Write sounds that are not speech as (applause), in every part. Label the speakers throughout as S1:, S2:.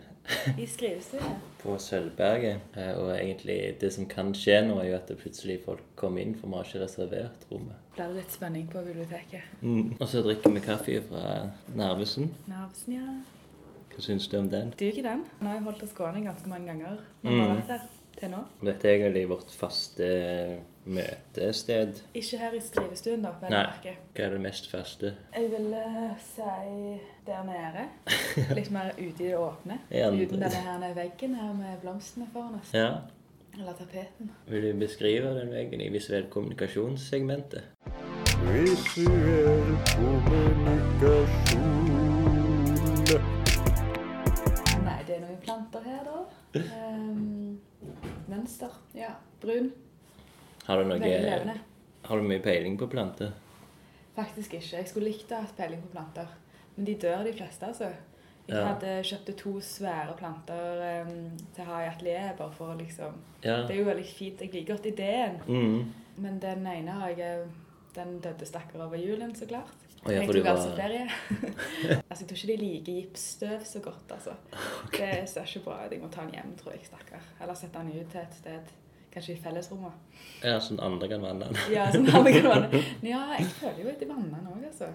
S1: I skrivestudiet.
S2: (laughs) på Sølvberget. Eh, Og egentlig det som kan skje nå, er jo at det plutselig folk kommer inn, for vi har ikke reservert rommet.
S1: Blir det litt spenning på biblioteket?
S2: Og så drikker vi kaffe fra Narvesen.
S1: Nervesen, ja.
S2: Hva syns du om den?
S1: Duger den? Nå har jeg holdt oss gående ganske mange ganger.
S2: Mm.
S1: Når vi har vært der til nå.
S2: Dette er egentlig vårt faste møtested.
S1: Ikke her i skrivestuen, da. vel å
S2: Nei.
S1: merke.
S2: Hva er det mest faste?
S1: Jeg ville si der nede.
S2: (laughs)
S1: Litt mer ute i det åpne.
S2: Ja, men-
S1: Uten denne her nede veggen her med blomstene foran oss.
S2: Ja.
S1: Eller tapeten.
S2: Vil du beskrive den veggen i visuell kommunikasjonssegmentet?
S3: Visuell kommunikasjon.
S1: Nei, det er noen planter her,
S2: (laughs)
S1: da. Ehm, mønster. Ja. Brun.
S2: Har du,
S1: Veldig
S2: noe,
S1: levende.
S2: har du mye peiling på planter?
S1: Faktisk ikke. Jeg skulle likt å ha peiling på planter. Men de dør, de fleste, altså. Jeg
S2: Ja.
S1: hadde kjøpte to svære planter em, til å ha i atelieret, bare for å liksom
S2: Ja.
S1: Det er jo veldig fint. Jeg liker godt ideen.
S2: Mm.
S1: Men den ene har jeg eh, Den døde stakkar over julen, så klart.
S2: Å ja,
S1: jeg
S2: for du
S1: tok altså
S2: var-
S1: ferie. (laughs) altså, jeg tror ikke de liker gipsstøv så godt, altså. Det ser ikke bra ut. Jeg må ta den hjem, tror jeg, stakkar. Eller sette den ut til et sted. Kanskje i fellesrommet.
S2: Ja, sånn andre kan vanne den.
S1: Ja, sånn alle kan vanne. Men Ja, jeg føler jo at de vanner den òg, altså.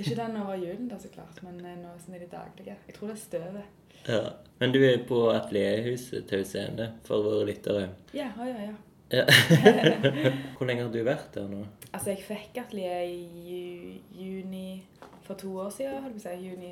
S1: Ikke den over julen, da, så klart, men eh, nå som det er de daglige. Jeg tror det er støvet.
S2: (laughs) Ja. Men du er på Atelierhuset Tausende, for våre lyttere.
S1: Ja, ja, ja, ja. (laughs)
S2: Ja. Hvor lenge har du vært der nå?
S1: Altså, jeg fikk atelier i ju- juni for to år siden, holdt jeg på å si. Juni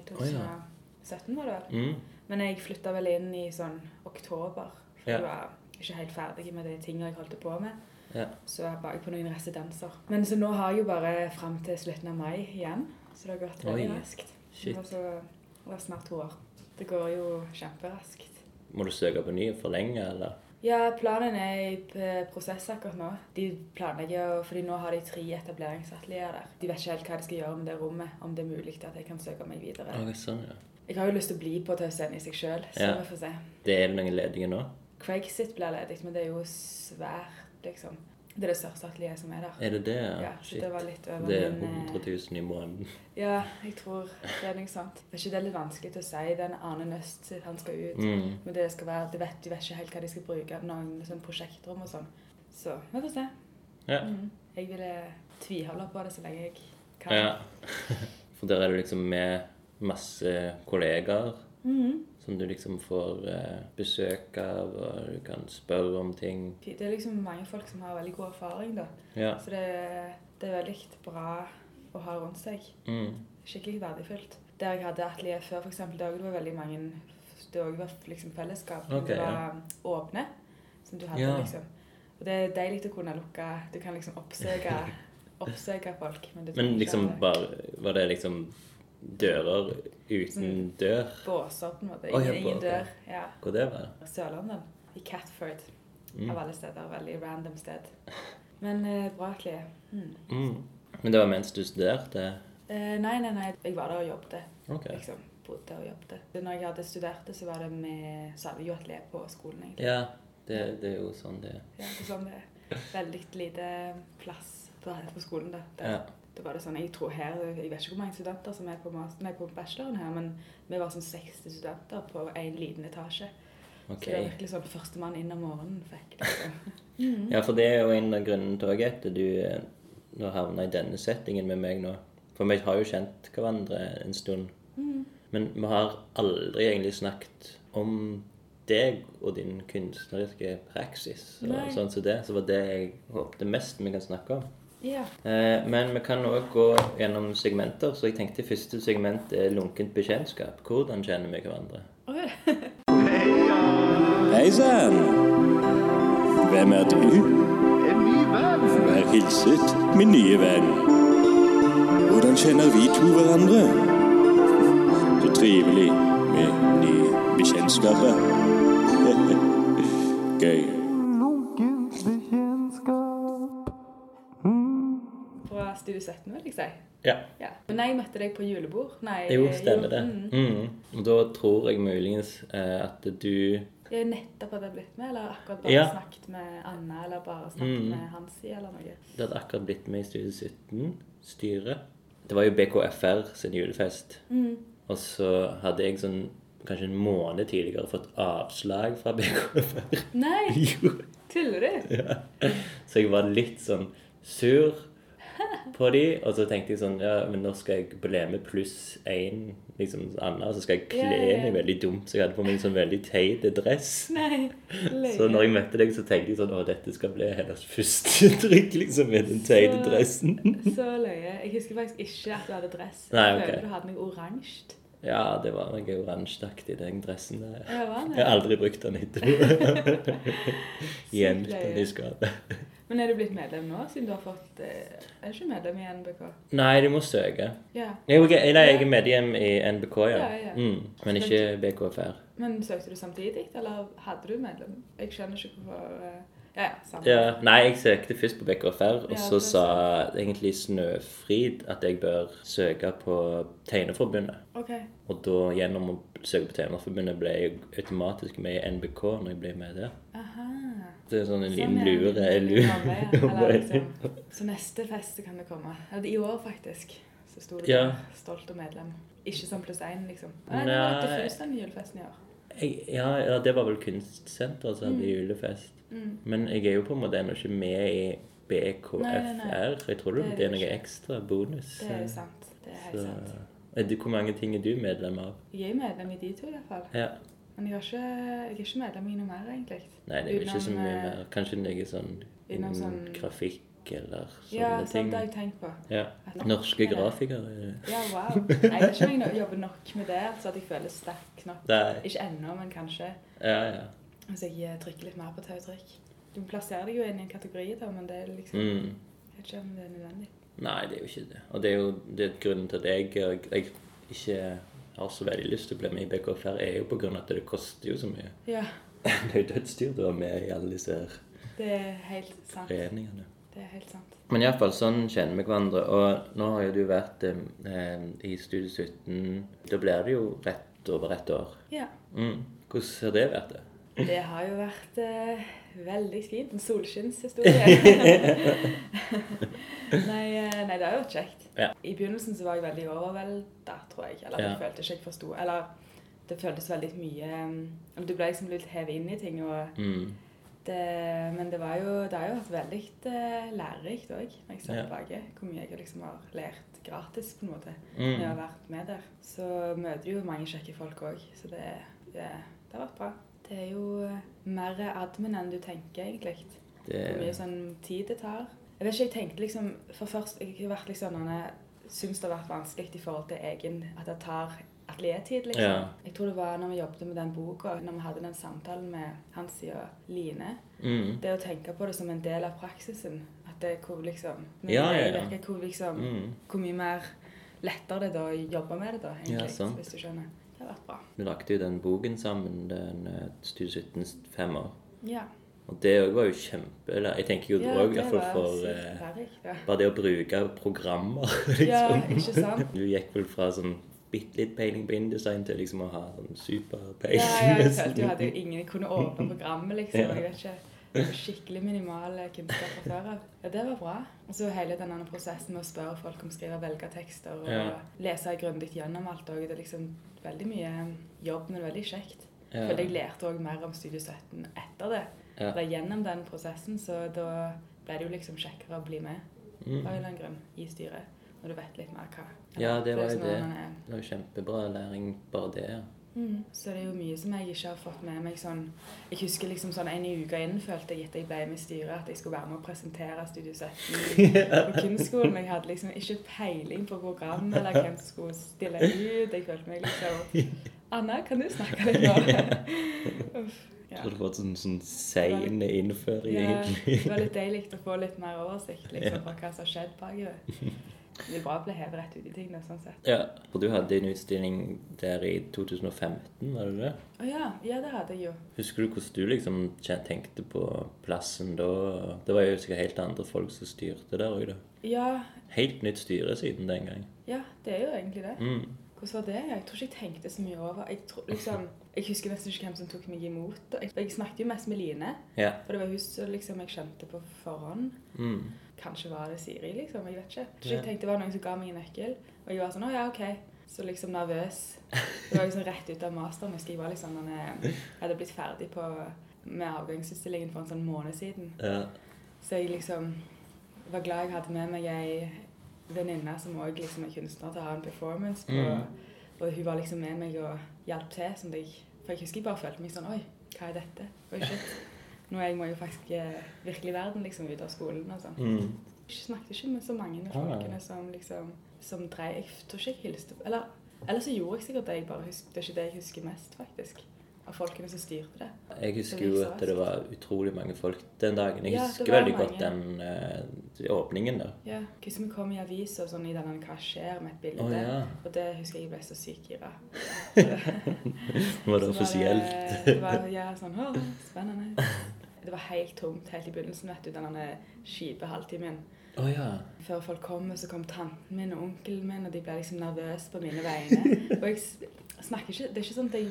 S1: 2017 var det vel.
S2: Mm.
S1: Men jeg flytta vel inn i sånn oktober, for
S2: Ja.
S1: jeg var ikke helt ferdig med de tingene jeg holdt på med.
S2: Ja.
S1: Så var jeg på noen residenser. Men så nå har jeg jo bare fram til slutten av mai igjen, så det har gått veldig
S2: Oi.
S1: raskt.
S2: Shit.
S1: Og så det er snart to år. Det går jo kjemperaskt.
S2: Må du søke på ny og forlenge, eller?
S1: Ja, planen er i p- prosess akkurat nå. De planlegger, å- fordi nå har de tre etableringsatelier der. De vet ikke helt hva de skal gjøre med det rommet, om det er mulig at jeg kan søke meg videre.
S2: Ok, sånn, ja.
S1: Jeg har jo lyst til å bli på Tausen i seg sjøl, så
S2: Ja.
S1: vi får se.
S2: Det er det noen ledige nå?
S1: Craig sitt blir ledig, men det er jo svært, liksom. Det er det største atelieret som er der.
S2: Er det det?
S1: Ja, så det var litt over
S2: Det er
S1: min, eh,
S2: 100 000 i
S1: (laughs)
S2: måneden.
S1: Ja, jeg tror det er noe sånt. Det er ikke det litt vanskelig til å si. Den Arne Nøst, han skal ut.
S2: Mm.
S1: Men det skal være, de vet, de vet ikke helt hva de skal bruke. Noen sånn prosjektrom og sånn. Så vi får se.
S2: Ja.
S1: Mm. Jeg ville tviholde på det så lenge jeg kan.
S2: ja. (laughs) For der er du liksom med masse kollegaer
S1: Mhm.
S2: som du liksom får eh, besøk av, og du kan spørre om ting.
S1: Det er liksom mange folk som har veldig god erfaring, da.
S2: Ja.
S1: Så det, det er veldig bra å ha rundt seg.
S2: Mm.
S1: skikkelig verdifullt. Der jeg hadde atelier før, for eksempel, da det var veldig mange det også var liksom fellesskap. men
S2: Ok,
S1: det var um,
S2: ja.
S1: åpne, som du hadde,
S2: Ja.
S1: liksom. Og det er deilig å kunne lukke Du kan liksom
S2: (laughs)
S1: oppsøke, oppsøke folk. Men, du trenger
S2: Men
S1: ikke
S2: liksom
S1: ha
S2: bare Var det liksom dører uten dør?
S1: Båser, på en måte.
S2: Å, ja,
S1: Ingen, ingen
S2: båter.
S1: dør. Ja.
S2: Hvor det var?
S1: Sørlandet. I Catford,
S2: Mm.
S1: av alle steder. Veldig random sted. Men eh, bra atelier. Mm.
S2: Mm. Men det var mens du studerte?
S1: Eh, nei, nei, nei. Jeg var der og jobbet.
S2: Ok.
S1: liksom bodde og jobbet. Når jeg hadde studert det, så var det med så hadde vi jo atelier på skolen, egentlig.
S2: Ja, det, det er jo sånn det er.
S1: Ja, det er sånn det er veldig lite plass på, på skolen, da. Der.
S2: Ja.
S1: Da var det sånn, jeg tror her, jeg vet ikke hvor mange studenter som er på, master, nei, på bacheloren her, men vi var sånn 60 studenter på en liten etasje.
S2: Ok.
S1: Så det var virkelig sånn førstemann inn om morgenen fikk det. Liksom.
S2: (laughs) Ja, for det er jo en av grunnene til også at du eh, nå havna i denne settingen med meg nå. For vi har jo kjent hverandre en stund.
S1: Mm.
S2: Men vi har aldri egentlig snakket om deg og din kunstneriske praksis. Og
S1: Nei.
S2: sånn som det. Så var det jeg håpte mest vi kan snakke om.
S1: Ja.
S2: Eh, Men vi kan òg gå gjennom segmenter, så jeg tenkte første segment er lunkent bekjentskap. Hvordan kjenner vi hverandre?
S1: Oi.
S4: Hei sann! Hvem er du? Vær hilset, min nye venn. Hvordan kjenner vi to hverandre? Så trivelig med nye bekjentskaper. (laughs) Gøy.
S1: Fra Studio 17, vil jeg si.
S2: Ja.
S1: Ja. Men nei, jeg møtte deg på julebord. Nei,
S2: Jo, stemmer det.
S1: Mm.
S2: Mm. Og Da tror jeg muligens eh, at du
S1: Jeg er nettopp hadde blitt med, eller akkurat bare
S2: Ja. Mm.
S1: snakket med Anna, eller bare snakket med Hansi, eller noe.
S2: Det hadde akkurat blitt med i Studio 17, styret. Det var jo BKFR sin julefest.
S1: Mm.
S2: Og så hadde jeg sånn kanskje en måned tidligere fått avslag fra (laughs) BKFR.
S1: Nei,
S2: (laughs) Jo.
S1: tuller du?
S2: Så jeg var litt sånn sur på de, og så tenkte jeg sånn Ja, men nå skal jeg bli med pluss én liksom Anna, og så skal jeg kle
S1: Ja, ja, ja.
S2: meg veldig dumt, så jeg hadde på meg en sånn veldig teit dress.
S1: Nei,
S2: Så når jeg møtte deg, så tenkte jeg sånn Å, dette skal bli hennes første (laughs) trykk, liksom, med den teite
S1: Så-
S2: dressen.
S1: Så løye. Jeg husker faktisk ikke at du hadde dress. Jeg
S2: Nei, ok.
S1: føler du hadde noe oransje.
S2: Ja, det var noe oransjeaktig, den dressen der.
S1: Ja, hva er det?
S2: Jeg har aldri brukt den etterpå. Gjemt
S1: løye.
S2: den i skapet.
S1: Men er du blitt medlem nå, siden du har fått eh, Er du ikke medlem i NBK?
S2: Nei, du må søke.
S1: Ja.
S2: Jo, ok, nei, jeg er medhjem i NBK, ja.
S1: Ja, ja.
S2: Mm, men ikke BKFR.
S1: Men søkte du samtidig, eller hadde du medlem? Jeg skjønner ikke hvorfor eh, Ja, ja, samme.
S2: Ja, nei, jeg søkte først på BKFR, og
S1: Ja,
S2: så
S1: det er
S2: sa egentlig Snøfrid at jeg bør søke på Tegneforbundet.
S1: OK.
S2: Og da, gjennom å søke på Tegnerforbundet, ble jeg automatisk med i NBK når jeg ble med der.
S1: Aha.
S2: Det er sånn en liten
S1: Sånn, ja.
S2: lure.
S1: Liten
S2: lure. (laughs)
S1: ramme, ja. Eller liksom. Så neste fest så kan det komme. Eller I år, faktisk, så sto du
S2: Ja.
S1: der, stolt og medlem. Ikke som pluss én, liksom. Nei, det var
S2: Nei.
S1: diffus, den julefesten i år.
S2: Jeg, ja, ja, det var vel kunstsenter som
S1: Mm.
S2: hadde julefest. Men jeg er jo på en måte ennå ikke med i BKFR.
S1: Nei, nei, nei.
S2: Jeg tror det,
S1: Det er
S2: det er
S1: du
S2: noe
S1: ikke.
S2: ekstra bonus.
S1: Det er jo sant. Det er helt
S2: Så-
S1: sant.
S2: Er du- Hvor mange ting er du medlem av?
S1: Jeg er medlem i de to, i hvert fall.
S2: Ja.
S1: Men jeg, har ikke, jeg er ikke medlem i noe mer, egentlig.
S2: Nei, det er jo ikke så
S1: Utenom,
S2: mye
S1: eh,
S2: mer. Kanskje noe sånn
S1: utenom
S2: innen
S1: sånn-
S2: grafikk eller sånne
S1: Ja,
S2: ting.
S1: sånt har jeg tenkt på.
S2: Ja.
S1: At-
S2: Norske
S1: Nei, nei.
S2: grafikere.
S1: Ja, wow. Nei, jeg vet ikke om jeg nå- jobber nok med det, altså at jeg føler sterk nok.
S2: Nei.
S1: Ikke ennå, men kanskje.
S2: Ja, ja.
S1: Hvis jeg eh, trykker litt mer på tautrykk. Du plasserer deg jo inn i en kategori, da, men det er liksom
S2: Mm.
S1: Jeg vet ikke om det er nødvendig.
S2: Nei, det er jo ikke det. Og det er jo det er grunnen til at jeg, jeg, jeg ikke har så veldig lyst til å bli med i BKFR, er jo på grunn av at det koster jo så mye. (laughs)
S1: Ja,
S2: Det er jo dødsdyrt å være med i alle disse her
S1: det er helt sant.
S2: foreningene.
S1: Det er helt sant.
S2: Men iallfall sånn kjenner vi hverandre. Og nå har jo du vært eh, i Studio 17. Da blir det jo rett over ett år.
S1: Ja.
S2: Mm. Hvordan har det vært? det?
S1: Det har jo vært eh, veldig fint.
S2: (laughs)
S1: En solskinnshistorie. nei, eh, nei, det har jo vært kjekt.
S2: Ja.
S1: I begynnelsen så var jeg veldig overvelda, tror jeg. Eller
S2: Ja.
S1: jeg følte ikke jeg forsto Eller det føltes veldig mye eh, Du ble liksom litt hevet inn i ting. Og
S2: Mm.
S1: det, eh, men det, var jo, det har jo vært veldig eh, lærerikt òg, når jeg ser
S2: Ja.
S1: tilbake. Hvor mye jeg liksom har lært gratis, på en måte,
S2: Mm.
S1: når jeg har vært med der. Så møter du jo mange kjekke folk òg, så det, det, det har vært bra. Det er jo eh, mer admin enn du tenker, egentlig.
S2: Det
S1: Hvor mye
S2: er
S1: sånn tid det tar. Jeg vet ikke, jeg tenkte liksom For først jeg har vært liksom når jeg syns det har vært vanskelig i forhold til egen At det tar ateliertid, liksom.
S2: Ja.
S1: Jeg tror det var når vi jobbet med den boka, når vi hadde den samtalen med Hansi og Line.
S2: mm.
S1: Det å tenke på det som en del av praksisen. At det er hvor liksom men
S2: Ja, ja, ja.
S1: det virker Hvor liksom
S2: Mm.
S1: Hvor mye mer lettere det er da å jobbe med det, da,
S2: Ja,
S1: egentlig.
S2: sant.
S1: hvis du skjønner. Det har vært bra.
S2: Vi lagde jo den boken sammen, den eh, Studio 17 fem år.
S1: Ja.
S2: Og det òg var jo kjempe eller, Jeg tenker jo det òg, i hvert fall for eh,
S1: sykt lærerikt. Ja.
S2: Bare det å bruke programmer, (laughs)
S1: ja,
S2: liksom.
S1: ikke sant?
S2: Du gikk vel fra sånn bitte litt peiling på InDesign til liksom å ha sånn
S1: Ja, ja,
S2: superpeiling. (laughs)
S1: jeg følte jo at jeg ingen kunne åpne programmet, liksom.
S2: Ja.
S1: Jeg vet ikke. Det var Skikkelig minimal kunnskap fra før av. Ja, det var bra. Og så hele den andre prosessen med å spørre folk om skrive og velge tekster, og
S2: Ja.
S1: lese grundig gjennom alt òg. Det er liksom veldig mye jobb, men veldig kjekt.
S2: Ja.
S1: Følte jeg lærte òg mer om Studio 17 etter det.
S2: Ja.
S1: Eller gjennom den prosessen, så da ble det jo liksom kjekkere å bli med
S2: Mm.
S1: av en eller annen grunn i styret. Når du vet litt mer hva
S2: Ja, det var jo
S1: følelsen når
S2: det.
S1: sånn man er-
S2: Det var jo kjempebra læring bare det. ja.
S1: Så det er jo mye som jeg ikke har fått med meg. sånn, Jeg husker liksom sånn en uke inn følte jeg etter jeg ble med i styret at jeg skulle være med og presentere Studio 17 på kunstskolen. Men jeg hadde liksom ikke peiling på program eller hvem som skulle stille ut. Jeg følte meg liksom Anna, kan du snakke litt nå? Uff,
S2: Jeg
S1: ja.
S2: tror du får en sånn sein innføring,
S1: Ja,
S2: egentlig.
S1: det var litt deilig å få litt mer oversikt liksom, på hva som har skjedd bakover. Det er bra å bli hevet rett ut i tingene, sånn sett.
S2: (laughs) Ja, for du hadde en utstilling der i 2015, var det det?
S1: Å ja, ja, det hadde jeg jo.
S2: Husker du hvordan du liksom kjen- tenkte på plassen da? Det var jo sikkert helt andre folk som styrte der òg, da.
S1: Ja,
S2: Helt nytt styre siden den gang.
S1: ja, det er jo egentlig det.
S2: Mm.
S1: Hvordan var det? Jeg tror ikke jeg tenkte så mye over. Jeg, tror, liksom, jeg husker nesten ikke hvem som tok meg imot. og Jeg, jeg snakket jo mest med Line,
S2: Ja.
S1: for det var hun som liksom, jeg kjente på forhånd.
S2: Mm.
S1: Kanskje var det Siri, liksom. Jeg vet ikke. Jeg tror
S2: Ja.
S1: jeg tenkte det var noen som ga meg en nøkkel. Og jeg var sånn Å ja, OK. Så liksom nervøs. Det var liksom rett ut av masteren. Husker jeg var liksom når jeg hadde blitt ferdig på, med avgangsutstillingen for en sånn måned siden.
S2: ja.
S1: Så jeg liksom var glad jeg hadde med meg ei venninne som òg liksom er kunstner, til å ha en performance på.
S2: Mm.
S1: Og hun var liksom med meg og hjalp til. Som jeg, for jeg husker jeg bare følte meg sånn Oi, hva er dette? Oi, shit. Nå er jeg må jo faktisk eh, virkelig verden liksom ut av skolen og sånn.
S2: Mm.
S1: Jeg snakket ikke med så mange av
S2: Ah.
S1: folkene som liksom som drev Jeg tror ikke jeg hilste på Eller, eller så gjorde jeg sikkert det, jeg bare husker, det er ikke det jeg husker mest, faktisk. Av folkene som styrte det.
S2: Jeg husker jo at det var utrolig mange folk den dagen. Jeg
S1: Ja, det
S2: husker
S1: var
S2: veldig godt
S1: mange.
S2: den eh, åpningen der.
S1: Ja, Hva som kom i avisa sånn i denne 'Hva skjer?' med et bilde.
S2: Å, ja.
S1: Og det husker jeg ble så sykt gira.
S2: (laughs) Var det
S1: Så
S2: offisielt?
S1: det- Det var ja, sånn Å, spennende. Det var helt tomt helt i begynnelsen, vet du, denne kjipe halvtimen.
S2: (laughs) Å ja.
S1: Før folk kom, så kom tanten min og onkelen min, og de ble liksom nervøse på mine vegne. Og jeg s- snakker ikke Det er ikke sånn at jeg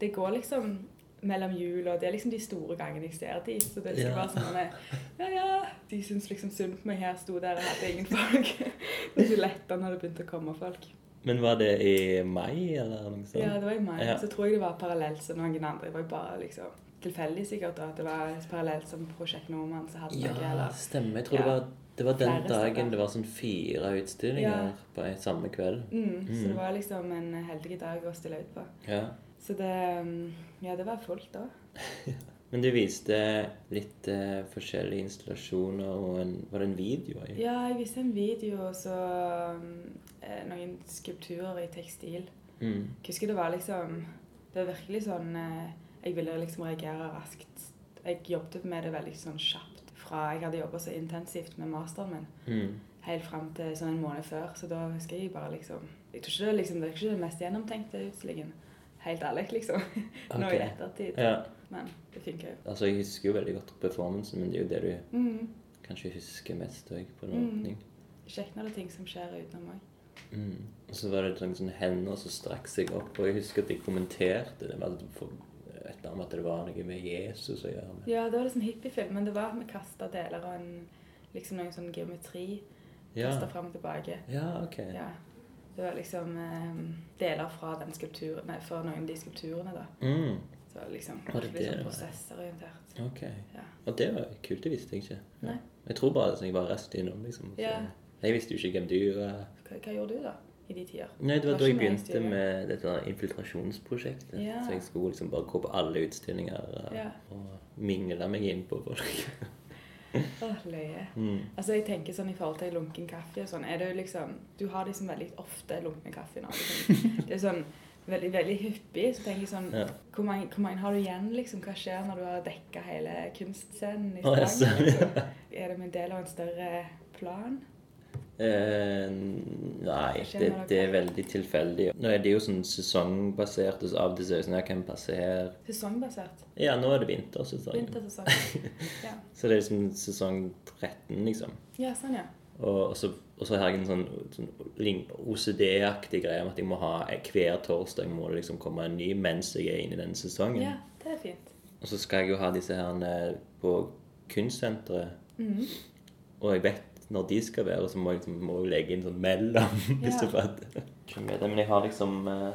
S1: Det går liksom mellom jul, og det er liksom de store gangene jeg ser de. Så det er ikke
S2: Ja.
S1: bare sånn at, Ja, ja. De syns liksom synd på meg. Her sto der og hadde ingen folk. Det er så letta når det begynte å komme folk.
S2: Men var det i mai, eller noe sånt?
S1: Ja, det var i mai.
S2: Ja.
S1: Så tror jeg det var parallelt som noen andre. Det var jo bare liksom tilfeldig sikkert da, at det var parallelt som Prosjekt Nordmann som hadde noe.
S2: Ja,
S1: eller-
S2: stemmer. Jeg tror
S1: Ja.
S2: det, var, det var den
S1: Flere steder.
S2: dagen det var sånn fire utstillinger
S1: Ja.
S2: på en samme kveld.
S1: Mm, så
S2: Mm.
S1: det var liksom en heldig dag å stille ut på.
S2: Ja.
S1: Så det mm, Ja, det var fullt da.
S2: Men du viste litt eh, forskjellige installasjoner og en, var det en video? i?
S1: Ja, jeg viste en video og så mm, eh, noen skulpturer i tekstil.
S2: Mm.
S1: Jeg husker det var liksom Det var virkelig sånn eh, Jeg ville liksom reagere raskt. Jeg jobbet med det veldig sånn kjapt fra jeg hadde jobba så intensivt med masteren min.
S2: Mm.
S1: Helt fram til sånn en måned før, så da husker jeg bare liksom Jeg tror ikke det, er liksom, det er ikke det mest gjennomtenkte utstillingen. Helt ærlig, liksom. (laughs) Nå i
S2: Ok.
S1: ettertid.
S2: Ja.
S1: Men det funker jo.
S2: Altså, jeg husker jo veldig godt performancen, men det er jo det du
S1: Mm.
S2: kanskje husker mest òg på en
S1: Mm.
S2: åpning.
S1: Kjekt når det er ting som skjer utenom òg.
S2: Mm. Og så var det sånn, sånn hender som strakk seg opp, og jeg husker at jeg kommenterte det med at, for, et eller annet at det var noe med Jesus å gjøre. Med.
S1: Ja, det var liksom hippiefilm, men det var at vi kasta deler og en, liksom noen sånn geometri.
S2: Ja.
S1: Kasta fram og tilbake.
S2: ja, ok.
S1: Ja. Det var liksom eh, deler fra den skulpturen, nei, fra noen av de skulpturene, da.
S2: Mm.
S1: Så liksom
S2: Var det
S1: litt
S2: det det var?
S1: sånn prosessorientert.
S2: ok.
S1: Ja.
S2: Og det var kult, det visste jeg ikke.
S1: Nei.
S2: Jeg tror bare at jeg var raskt innom, liksom. Så.
S1: Ja.
S2: Jeg visste jo ikke hvem du var.
S1: Hva, hva gjorde du, da? I de tider?
S2: Nei, det var
S1: Du
S2: da jeg
S1: ikke med i
S2: begynte
S1: styret.
S2: med dette her infiltrasjonsprosjektet.
S1: Ja.
S2: Så jeg skulle liksom bare gå på alle utstillinger og,
S1: Ja.
S2: og mingle meg inn på folk.
S1: (laughs) Åh, løye.
S2: mm.
S1: Altså, jeg tenker sånn I forhold til lunken kaffe og sånn, er det jo liksom Du har liksom veldig ofte lunken kaffe
S2: (laughs)
S1: nå. Liksom. Det er sånn veldig veldig hyppig. Så tenker jeg sånn
S2: Ja.
S1: hvor, mange, hvor mange har du igjen? liksom, Hva skjer når du har dekka hele kunstscenen i
S2: Å, ja,
S1: Stavanger?
S2: sånn,
S1: Liksom? Er det en del av en større plan?
S2: Eh, nei,
S1: Forskjell
S2: det,
S1: når
S2: det er
S1: dere-
S2: veldig tilfeldig. Nå er det jo sånn sesongbasert, og så av og til så er det sånn jeg kan passe her
S1: Sesongbasert.
S2: Ja, nå er det vintersesong. (laughs)
S1: Vintersesong. Ja.
S2: Så det er liksom sesong 13, liksom.
S1: ja, sånn, ja.
S2: Og og så, og så har jeg en sånn, sånn lign- OCD-aktig greie om at jeg må ha hver torsdag må det liksom komme en ny mens jeg er inne i den sesongen.
S1: Ja, det er fint.
S2: Og så skal jeg jo ha disse her eh, på kunstsenteret.
S1: Mhm.
S2: Og jeg vet når de skal være, så må jeg liksom må jeg legge inn sånn mellom. (laughs) hvis
S1: Ja.
S2: du fatter. Ikke med det, Men jeg har liksom eh,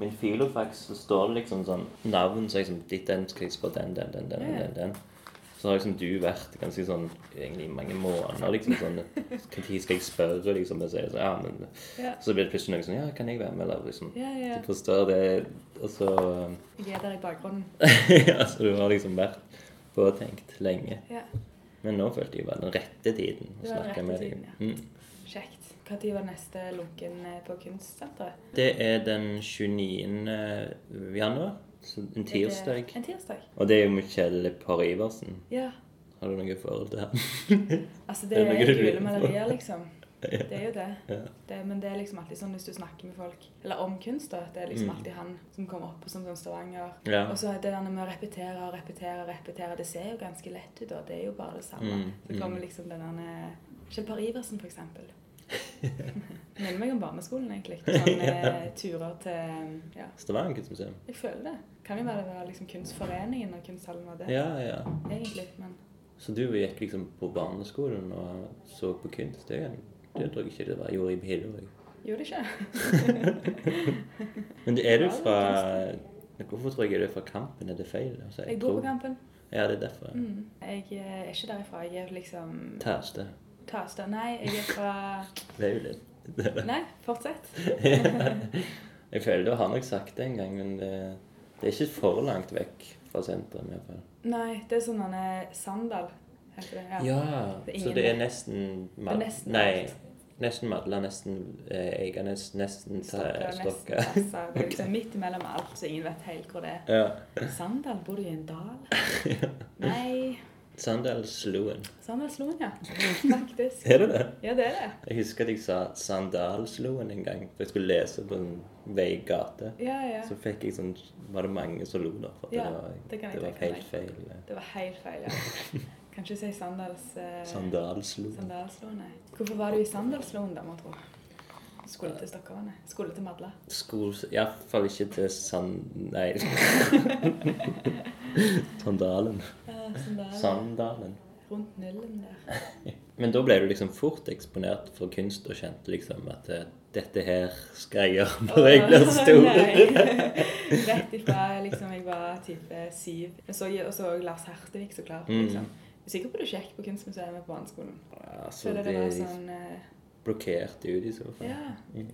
S2: Min filofax så står det liksom sånn navn så jeg liksom, Ditt den skal jeg på den, den, den, den,
S1: Ja, ja.
S2: den, den. Så har liksom du vært ganske sånn egentlig i mange måneder liksom sånn Når skal jeg spørre, liksom? Og så, er det sånn, ja, men,
S1: Ja.
S2: så blir det plutselig noen sånn Ja, kan jeg være med, eller liksom
S1: Ja, ja.
S2: Du forstår det Og så eh,
S1: Jeg er der i bakgrunnen.
S2: (laughs) Ja, så du har liksom vært påtenkt lenge.
S1: Ja.
S2: Men nå følte jeg var den rette tiden å
S1: Det var den
S2: snakke
S1: rette
S2: med deg.
S1: tiden, ja.
S2: Mm.
S1: Kjekt. Når var neste lunken eh, på kunstsenteret?
S2: Det er den 29. januar, så en
S1: Er det-
S2: tirsdag.
S1: En tirsdag.
S2: Og det er jo Michelle Parr Iversen.
S1: Ja.
S2: Har du noe forhold til han?
S1: Altså,
S2: Er
S1: det
S2: det noe
S1: er
S2: du lurer
S1: gule
S2: på?
S1: malerier,
S2: (laughs)
S1: liksom. (laughs) Det er jo det. (laughs)
S2: Ja.
S1: det. Men det er liksom alltid sånn hvis du snakker med folk Eller om kunst, da. Det er liksom
S2: Mm.
S1: alltid han som kommer opp som sånn Stavanger.
S2: Ja.
S1: Og så er det der med å repetere og repetere og repetere. Det ser jo ganske lett ut, og det er jo bare det samme.
S2: Mm,
S1: Så kommer
S2: mm.
S1: liksom den der Kjell Per Iversen, for eksempel. (laughs) Minner meg om barneskolen, egentlig.
S2: (laughs)
S1: Sånne eh, turer til Ja,
S2: Stavanger kunstmuseum.
S1: jeg føler det. Kan jo være det var liksom Kunstforeningen og kunsthallen var det,
S2: Ja, ja.
S1: egentlig. Men
S2: Så du gikk liksom på barneskolen og så på kunst? Det, det tror jeg ikke det var. Jeg gjorde i Hillevåg.
S1: gjorde det ikke?
S2: (laughs) Men er du
S1: Ja, det er
S2: fra Hvorfor tror jeg du er fra Kampen? Er det feil? Altså,
S1: Jeg bor
S2: tror-
S1: på Kampen.
S2: Ja, det er derfor. ja.
S1: Mm. Jeg eh, er ikke derifra. Jeg er liksom
S2: Tærste.
S1: Tasta. Nei, jeg er fra
S2: (laughs) Det er jo litt
S1: Nei, fortsett.
S2: (laughs) Jeg føler du har nok sagt det en gang, men det, det er ikke for langt vekk fra sentrum. i hvert fall.
S1: Nei, det er sånn han er Sandal, heter det. Ja.
S2: Ja,
S1: Det er
S2: så
S1: ingen
S2: det er
S1: vei.
S2: nesten
S1: Det
S2: Mad...
S1: er nesten
S2: Nei.
S1: alt.
S2: Nesten Madla, nesten eh, Eiganes, nesten
S1: Stokka,
S2: Ta-
S1: nesten
S2: Stokka.
S1: Tassa.
S2: (laughs)
S1: Det er liksom midt imellom alt, så ingen vet helt hvor det er.
S2: Ja.
S1: Sandal, bor du i en
S2: (laughs)
S1: dal? Nei
S2: Sandal Sloen.
S1: Sandal Sloen,
S2: (laughs)
S1: ja. Faktisk.
S2: Er det det?
S1: Ja, det er det.
S2: Jeg husker at jeg sa Sandal Sloen en gang, for jeg skulle lese på en veigate.
S1: Ja, ja.
S2: Så fikk jeg sånn Var det mange som lo, da? For at
S1: Ja,
S2: det var,
S1: det kan jeg
S2: det var
S1: tenke meg.
S2: helt feil. eh,
S1: Det var helt
S2: (laughs)
S1: feil, ja. Kan ikke si Sandals eh,
S2: Sandal Sloen.
S1: Sandalsloen, nei. Hvorfor var du i Sandalsloen, da, må jeg tro? Skulle til Stokkavannet. Skulle til Madla.
S2: Skos... Iallfall ikke til Sand...
S1: (laughs)
S2: Nei. Sandalen.
S1: Eh, Sandal.
S2: Sandalen.
S1: Rundt nullen
S2: (laughs)
S1: der.
S2: Men da ble du liksom fort eksponert for kunst og kjente liksom at eh, dette her skal jeg gjøre når jeg blir stor. (laughs)
S1: Nei. (laughs) Rett ifra liksom, jeg var type syv. Jeg så, og så Lars Hertevig så klart.
S2: Mm.
S1: liksom. Jeg er sikker på du sjekk på Kunstmuseet på barneskolen.
S2: altså,
S1: Føler
S2: det
S1: det var
S2: de
S1: sånn eh,
S2: blokkerte ut i så fall.
S1: Ja.
S2: Mm.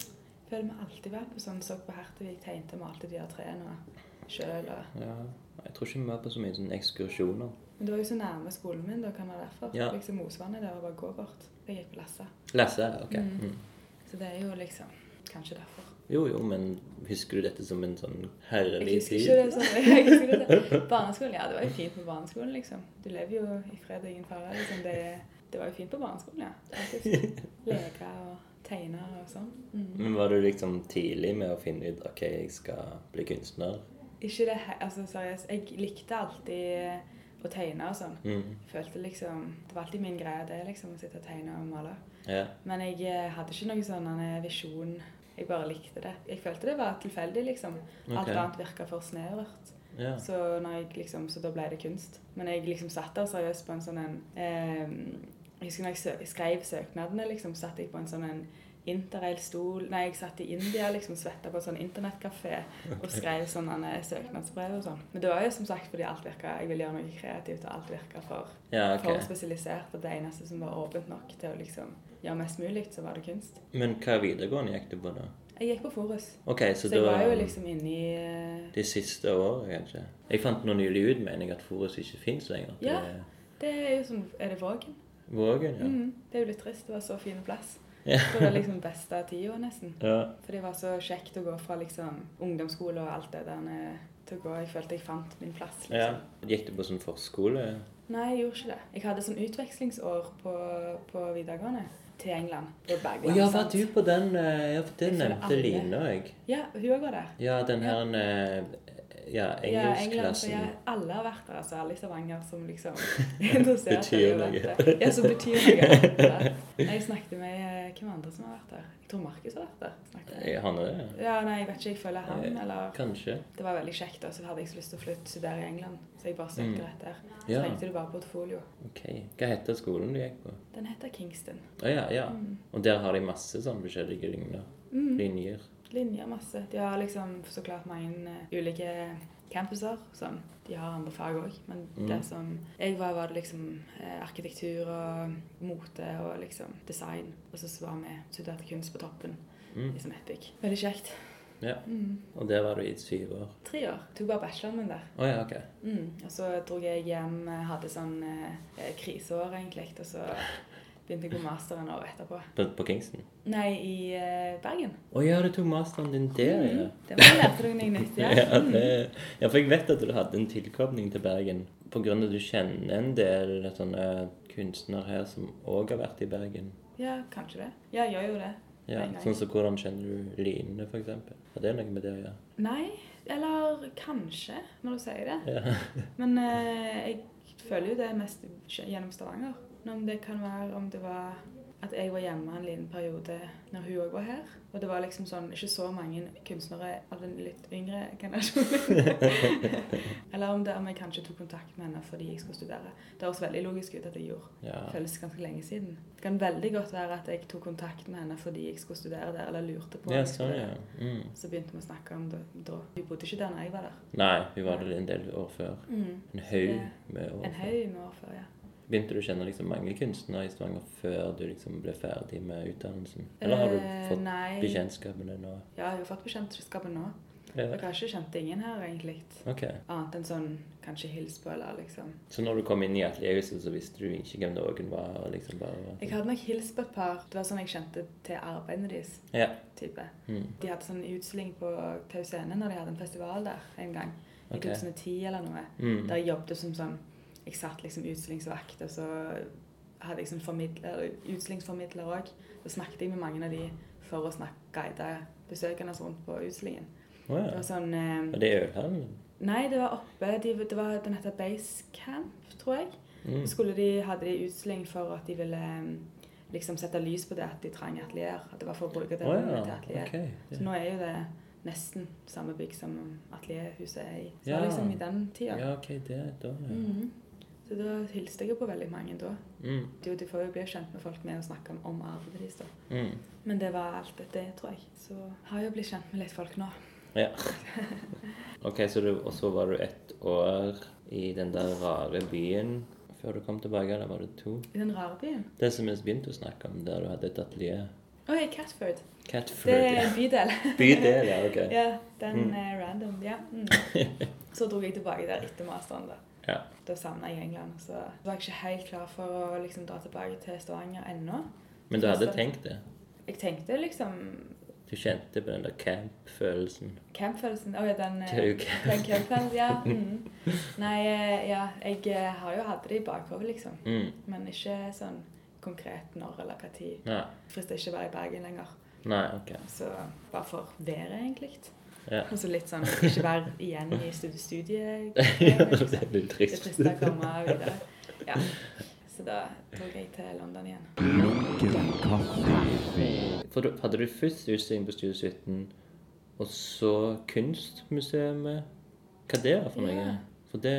S1: Føler vi alltid vært på sånn så på Hertevig tegnte og malte de der trærne sjøl og
S2: Ja. Jeg tror ikke vi var på så mye sånne ekskursjoner.
S1: Men det var jo så nærme skolen min, da kan det være derfor.
S2: Ja.
S1: Liksom Mosvannet der og bare gå bort. Jeg gikk på Lassa.
S2: Lasse, ok.
S1: Mm.
S2: Mm.
S1: Så det er jo liksom Kanskje derfor.
S2: Jo, jo, men husker du dette som en sånn
S1: Jeg
S2: herlig
S1: husker ikke
S2: tid?
S1: det sånn. (laughs) Jeg husker det. sånn. Barneskolen, ja, det var jo fint på barneskolen, liksom. Du lever jo i fred og ingen fare. liksom. Det, det var jo fint på barneskolen, ja. Faktisk. Leke og tegne og sånn. Mm.
S2: Men var du liksom tidlig med å finne ut OK, jeg skal bli kunstner?
S1: Ikke det he- Altså seriøst, jeg likte alltid å tegne og sånn.
S2: Mm.
S1: Følte liksom Det var alltid min greie, det, liksom, å sitte og tegne og male.
S2: Ja.
S1: Men jeg eh, hadde ikke noen sånn eh, visjon. Jeg bare likte det. Jeg følte det var tilfeldig, liksom. Alt
S2: Ok.
S1: annet virka for snevert.
S2: ja.
S1: Så, når jeg liksom, så da ble det kunst. Men jeg liksom satt der seriøst på en sånn en eh, Jeg husker når jeg sø skrev søknadene, liksom, satt jeg på en sånn en interrail-stol Nei, jeg satt i India liksom svetta på en sånn internettkafé og skrev sånne eh, søknadsbrev og sånn. Men det var jo som sagt fordi alt virka Jeg ville gjøre noe kreativt, og alt virka for
S2: Ja, ok.
S1: for spesialisert. Og det eneste som var åpent nok til å liksom gjøre mest mulig, så var det kunst.
S2: Men hva videregående gikk du på da?
S1: Jeg gikk på Forus,
S2: Ok,
S1: så,
S2: så,
S1: jeg
S2: da
S1: var jo liksom inne i eh,
S2: De siste året, kanskje. Jeg fant nå nylig ut, mener jeg, at Forus ikke fins lenger. at
S1: Ja.
S2: Det er
S1: Det er jo sånn Er det Vågen?
S2: Vågen, ja.
S1: Mhm. Det er jo litt trist. Det var så fin plass.
S2: Ja.
S1: Det var liksom beste tida, nesten.
S2: ja.
S1: For det var så kjekt å gå fra liksom ungdomsskole og alt det der ned til å gå Jeg følte jeg fant min plass, liksom.
S2: ja. Gikk du på sånn forskole?
S1: Nei, jeg gjorde ikke det. Jeg hadde sånn utvekslingsår på, på videregående til England. På
S2: Å
S1: Bergen,
S2: ja, var
S1: sant?
S2: du på den eh, Ja, for det
S1: Jeg føler
S2: nevnte
S1: alle.
S2: Line òg.
S1: Ja, hun òg var der.
S2: Ja, den her eh, Ja,
S1: Ja, England, for
S2: engelskklassen.
S1: jeg, alle har vært der, altså. Alle i Stavanger som
S2: (laughs)
S1: liksom er interessert
S2: Betyr
S1: i å være
S2: noe.
S1: der. Ja, som betyr
S2: (laughs)
S1: noe. Ja. Nei, Jeg snakket med eh, hvem andre som har vært der. Jeg tror Markus har vært der. Snakket. jeg.
S2: Eh, Han er det?
S1: Ja, nei, jeg vet ikke. Jeg føler han,
S2: Eh,
S1: eller
S2: Kanskje.
S1: Det var veldig kjekt, og så hadde jeg så lyst til å flytte studere i England, så jeg bare søkte
S2: Mm.
S1: rett der. Så
S2: Ja.
S1: trengte du bare portfolio.
S2: Ok. Hva heter skolen du gikk på?
S1: Den heter Kingston.
S2: Å ja, ja.
S1: Mm.
S2: Og der har de masse sånn forskjellige linjer.
S1: Mm.
S2: linjer.
S1: linjer masse. De har liksom så klart mange eh, ulike campuser. Sånn. De har andre fag òg, men
S2: Mm.
S1: det som jeg var, var det liksom eh, arkitektur og mote og liksom design. Og så var vi studerte kunst på toppen
S2: Mm.
S1: i Smetvik. Veldig kjekt.
S2: Ja.
S1: Mm.
S2: Og der var du i syv år.
S1: Tre år. Tok bare bacheloren min der.
S2: Å ja, OK.
S1: Mm. Og så dro jeg hjem, eh, hadde sånn eh, kriseår egentlig, og så begynte jeg på masteren året etterpå.
S2: På, på Kingston.
S1: Nei, i eh, Bergen.
S2: Å ja, du tok masteren din der, ja.
S1: Mm. Det var lærte du noe nytt, ja.
S2: (laughs) Ja,
S1: Mm.
S2: det, ja, for jeg vet at du hadde en tilkobling til Bergen på grunn av at du kjenner en del sånne kunstnere her som òg har vært i Bergen.
S1: Ja, kanskje det. Ja, jeg gjør jo det.
S2: Ja,
S1: Nei, nei.
S2: sånn som hvordan kjenner du Line, for eksempel? Har det noe med det å gjøre?
S1: Nei, eller kanskje, når du sier det.
S2: Ja. (laughs)
S1: Men eh, jeg føler jo det mest gjennom Stavanger. Men Om det kan være om det var at jeg var hjemme en liten periode når hun òg var her. Og det var liksom sånn ikke så mange kunstnere av den litt yngre generasjonen.
S2: (laughs)
S1: eller om det om jeg kanskje tok kontakt med henne fordi jeg skulle studere. Det høres veldig logisk ut at jeg gjorde.
S2: ja.
S1: Det føles ganske lenge siden. Det kan veldig godt være at jeg tok kontakt med henne fordi jeg skulle studere der, eller lurte på om
S2: Ja,
S1: jeg
S2: sånn,
S1: skulle
S2: ja.
S1: det.
S2: Mm.
S1: Så begynte vi å snakke om det da. Hun bodde ikke der når jeg var der.
S2: Nei, vi var der en del år før. En haug
S1: Ja.
S2: med år.
S1: En
S2: før.
S1: haug med år før, ja.
S2: Begynte du å kjenne liksom mange kunstnere i Stavanger før du liksom ble ferdig med utdannelsen? Eller har du
S1: Eh,
S2: fått
S1: Nei.
S2: bekjentskapene nå?
S1: Ja, jeg har fått bekjentskapet nå.
S2: Ja.
S1: Jeg har ikke kjent ingen her, egentlig.
S2: Ok.
S1: Annet enn sånn kanskje hils på, eller liksom.
S2: Så når du kom inn i atelierhuset, så visste du ikke hvem noen var? og liksom bare...
S1: Jeg hadde nok hils på et par. Det var sånn jeg kjente til arbeidene deres,
S2: sånn. Ja.
S1: type.
S2: Mm.
S1: De hadde sånn utstilling på Tau Scene når de hadde en festival der en gang. I
S2: Ok.
S1: 2010 eller noe.
S2: Mm.
S1: Der jeg jobbet som sånn Jeg satt liksom utstillingsvakt, og så hadde jeg sånn formidler, utstillingsformidler òg. Så snakket jeg med mange av de for å snakke guide besøkende rundt på utstillingen.
S2: Å,
S1: Det
S2: ja.
S1: var sånn
S2: Var
S1: eh,
S2: det ølhallen?
S1: Nei, det var oppe de, Det var den heter Basecamp, tror jeg.
S2: Mm.
S1: Så skulle de, hadde de utstilling for at de ville eh, liksom sette lys på det at de trenger atelier. At det var for å bruke det
S2: Å
S1: rommet til
S2: ja.
S1: atelier.
S2: Ok.
S1: Så nå er jo det nesten samme bygg som atelierhuset er i. Så
S2: Ja.
S1: liksom i den tida.
S2: Ja, OK, det da ja.
S1: Mhm. Så da hilste jeg jo på veldig mange da.
S2: Mm.
S1: Du, du får jo bli kjent med folk med å snakke om, om arven deres da.
S2: Mm.
S1: Men det var alt det, tror jeg. Så har jeg jo blitt kjent med litt folk nå. (laughs)
S2: Ja. OK, så du, og så var du ett år i den der rare byen før du kom tilbake? Eller var det to?
S1: I den rare byen.
S2: Det som vi begynte å snakke om, der du hadde et atelier
S1: Å, i Catford. Det
S2: Catford.
S1: er
S2: ja.
S1: en bydel.
S2: Bydel, ja. OK.
S1: ja, den
S2: Mm.
S1: er random. Ja. Mm. Så dro jeg tilbake der etter masteren da.
S2: (laughs) Ja.
S1: Da savnet jeg England, så var jeg ikke helt klar for å liksom dra tilbake til Stavanger ennå.
S2: Men du hadde tenkt det?
S1: Jeg tenkte liksom,
S2: Du kjente på den der camp-følelsen?
S1: campfølelsen, åja, den... eh,
S2: Det er jo ikke-
S1: Den cupen,
S2: (laughs)
S1: ja. Mm. Nei, eh, ja, jeg eh, har jo hatt det i bakhodet, liksom.
S2: Mm.
S1: Men ikke sånn konkret når eller hva tid.
S2: Nei.
S1: Frister ikke å være i Bergen lenger.
S2: Nei, OK.
S1: Så bare for været, egentlig. (laughs)
S2: Ja. (laughs)
S1: Og så litt sånn ikke være igjen i stud- studiet.
S2: (laughs) det
S1: Det
S2: er litt
S1: er
S2: trist.
S1: trist å komme videre. Ja. Så da dro jeg til London igjen.
S3: Lunken kaffefil.
S2: For du, hadde du først utstilling på Studio 17, og så kunstmuseet? Hva det var for noe?
S1: Ja.
S2: For det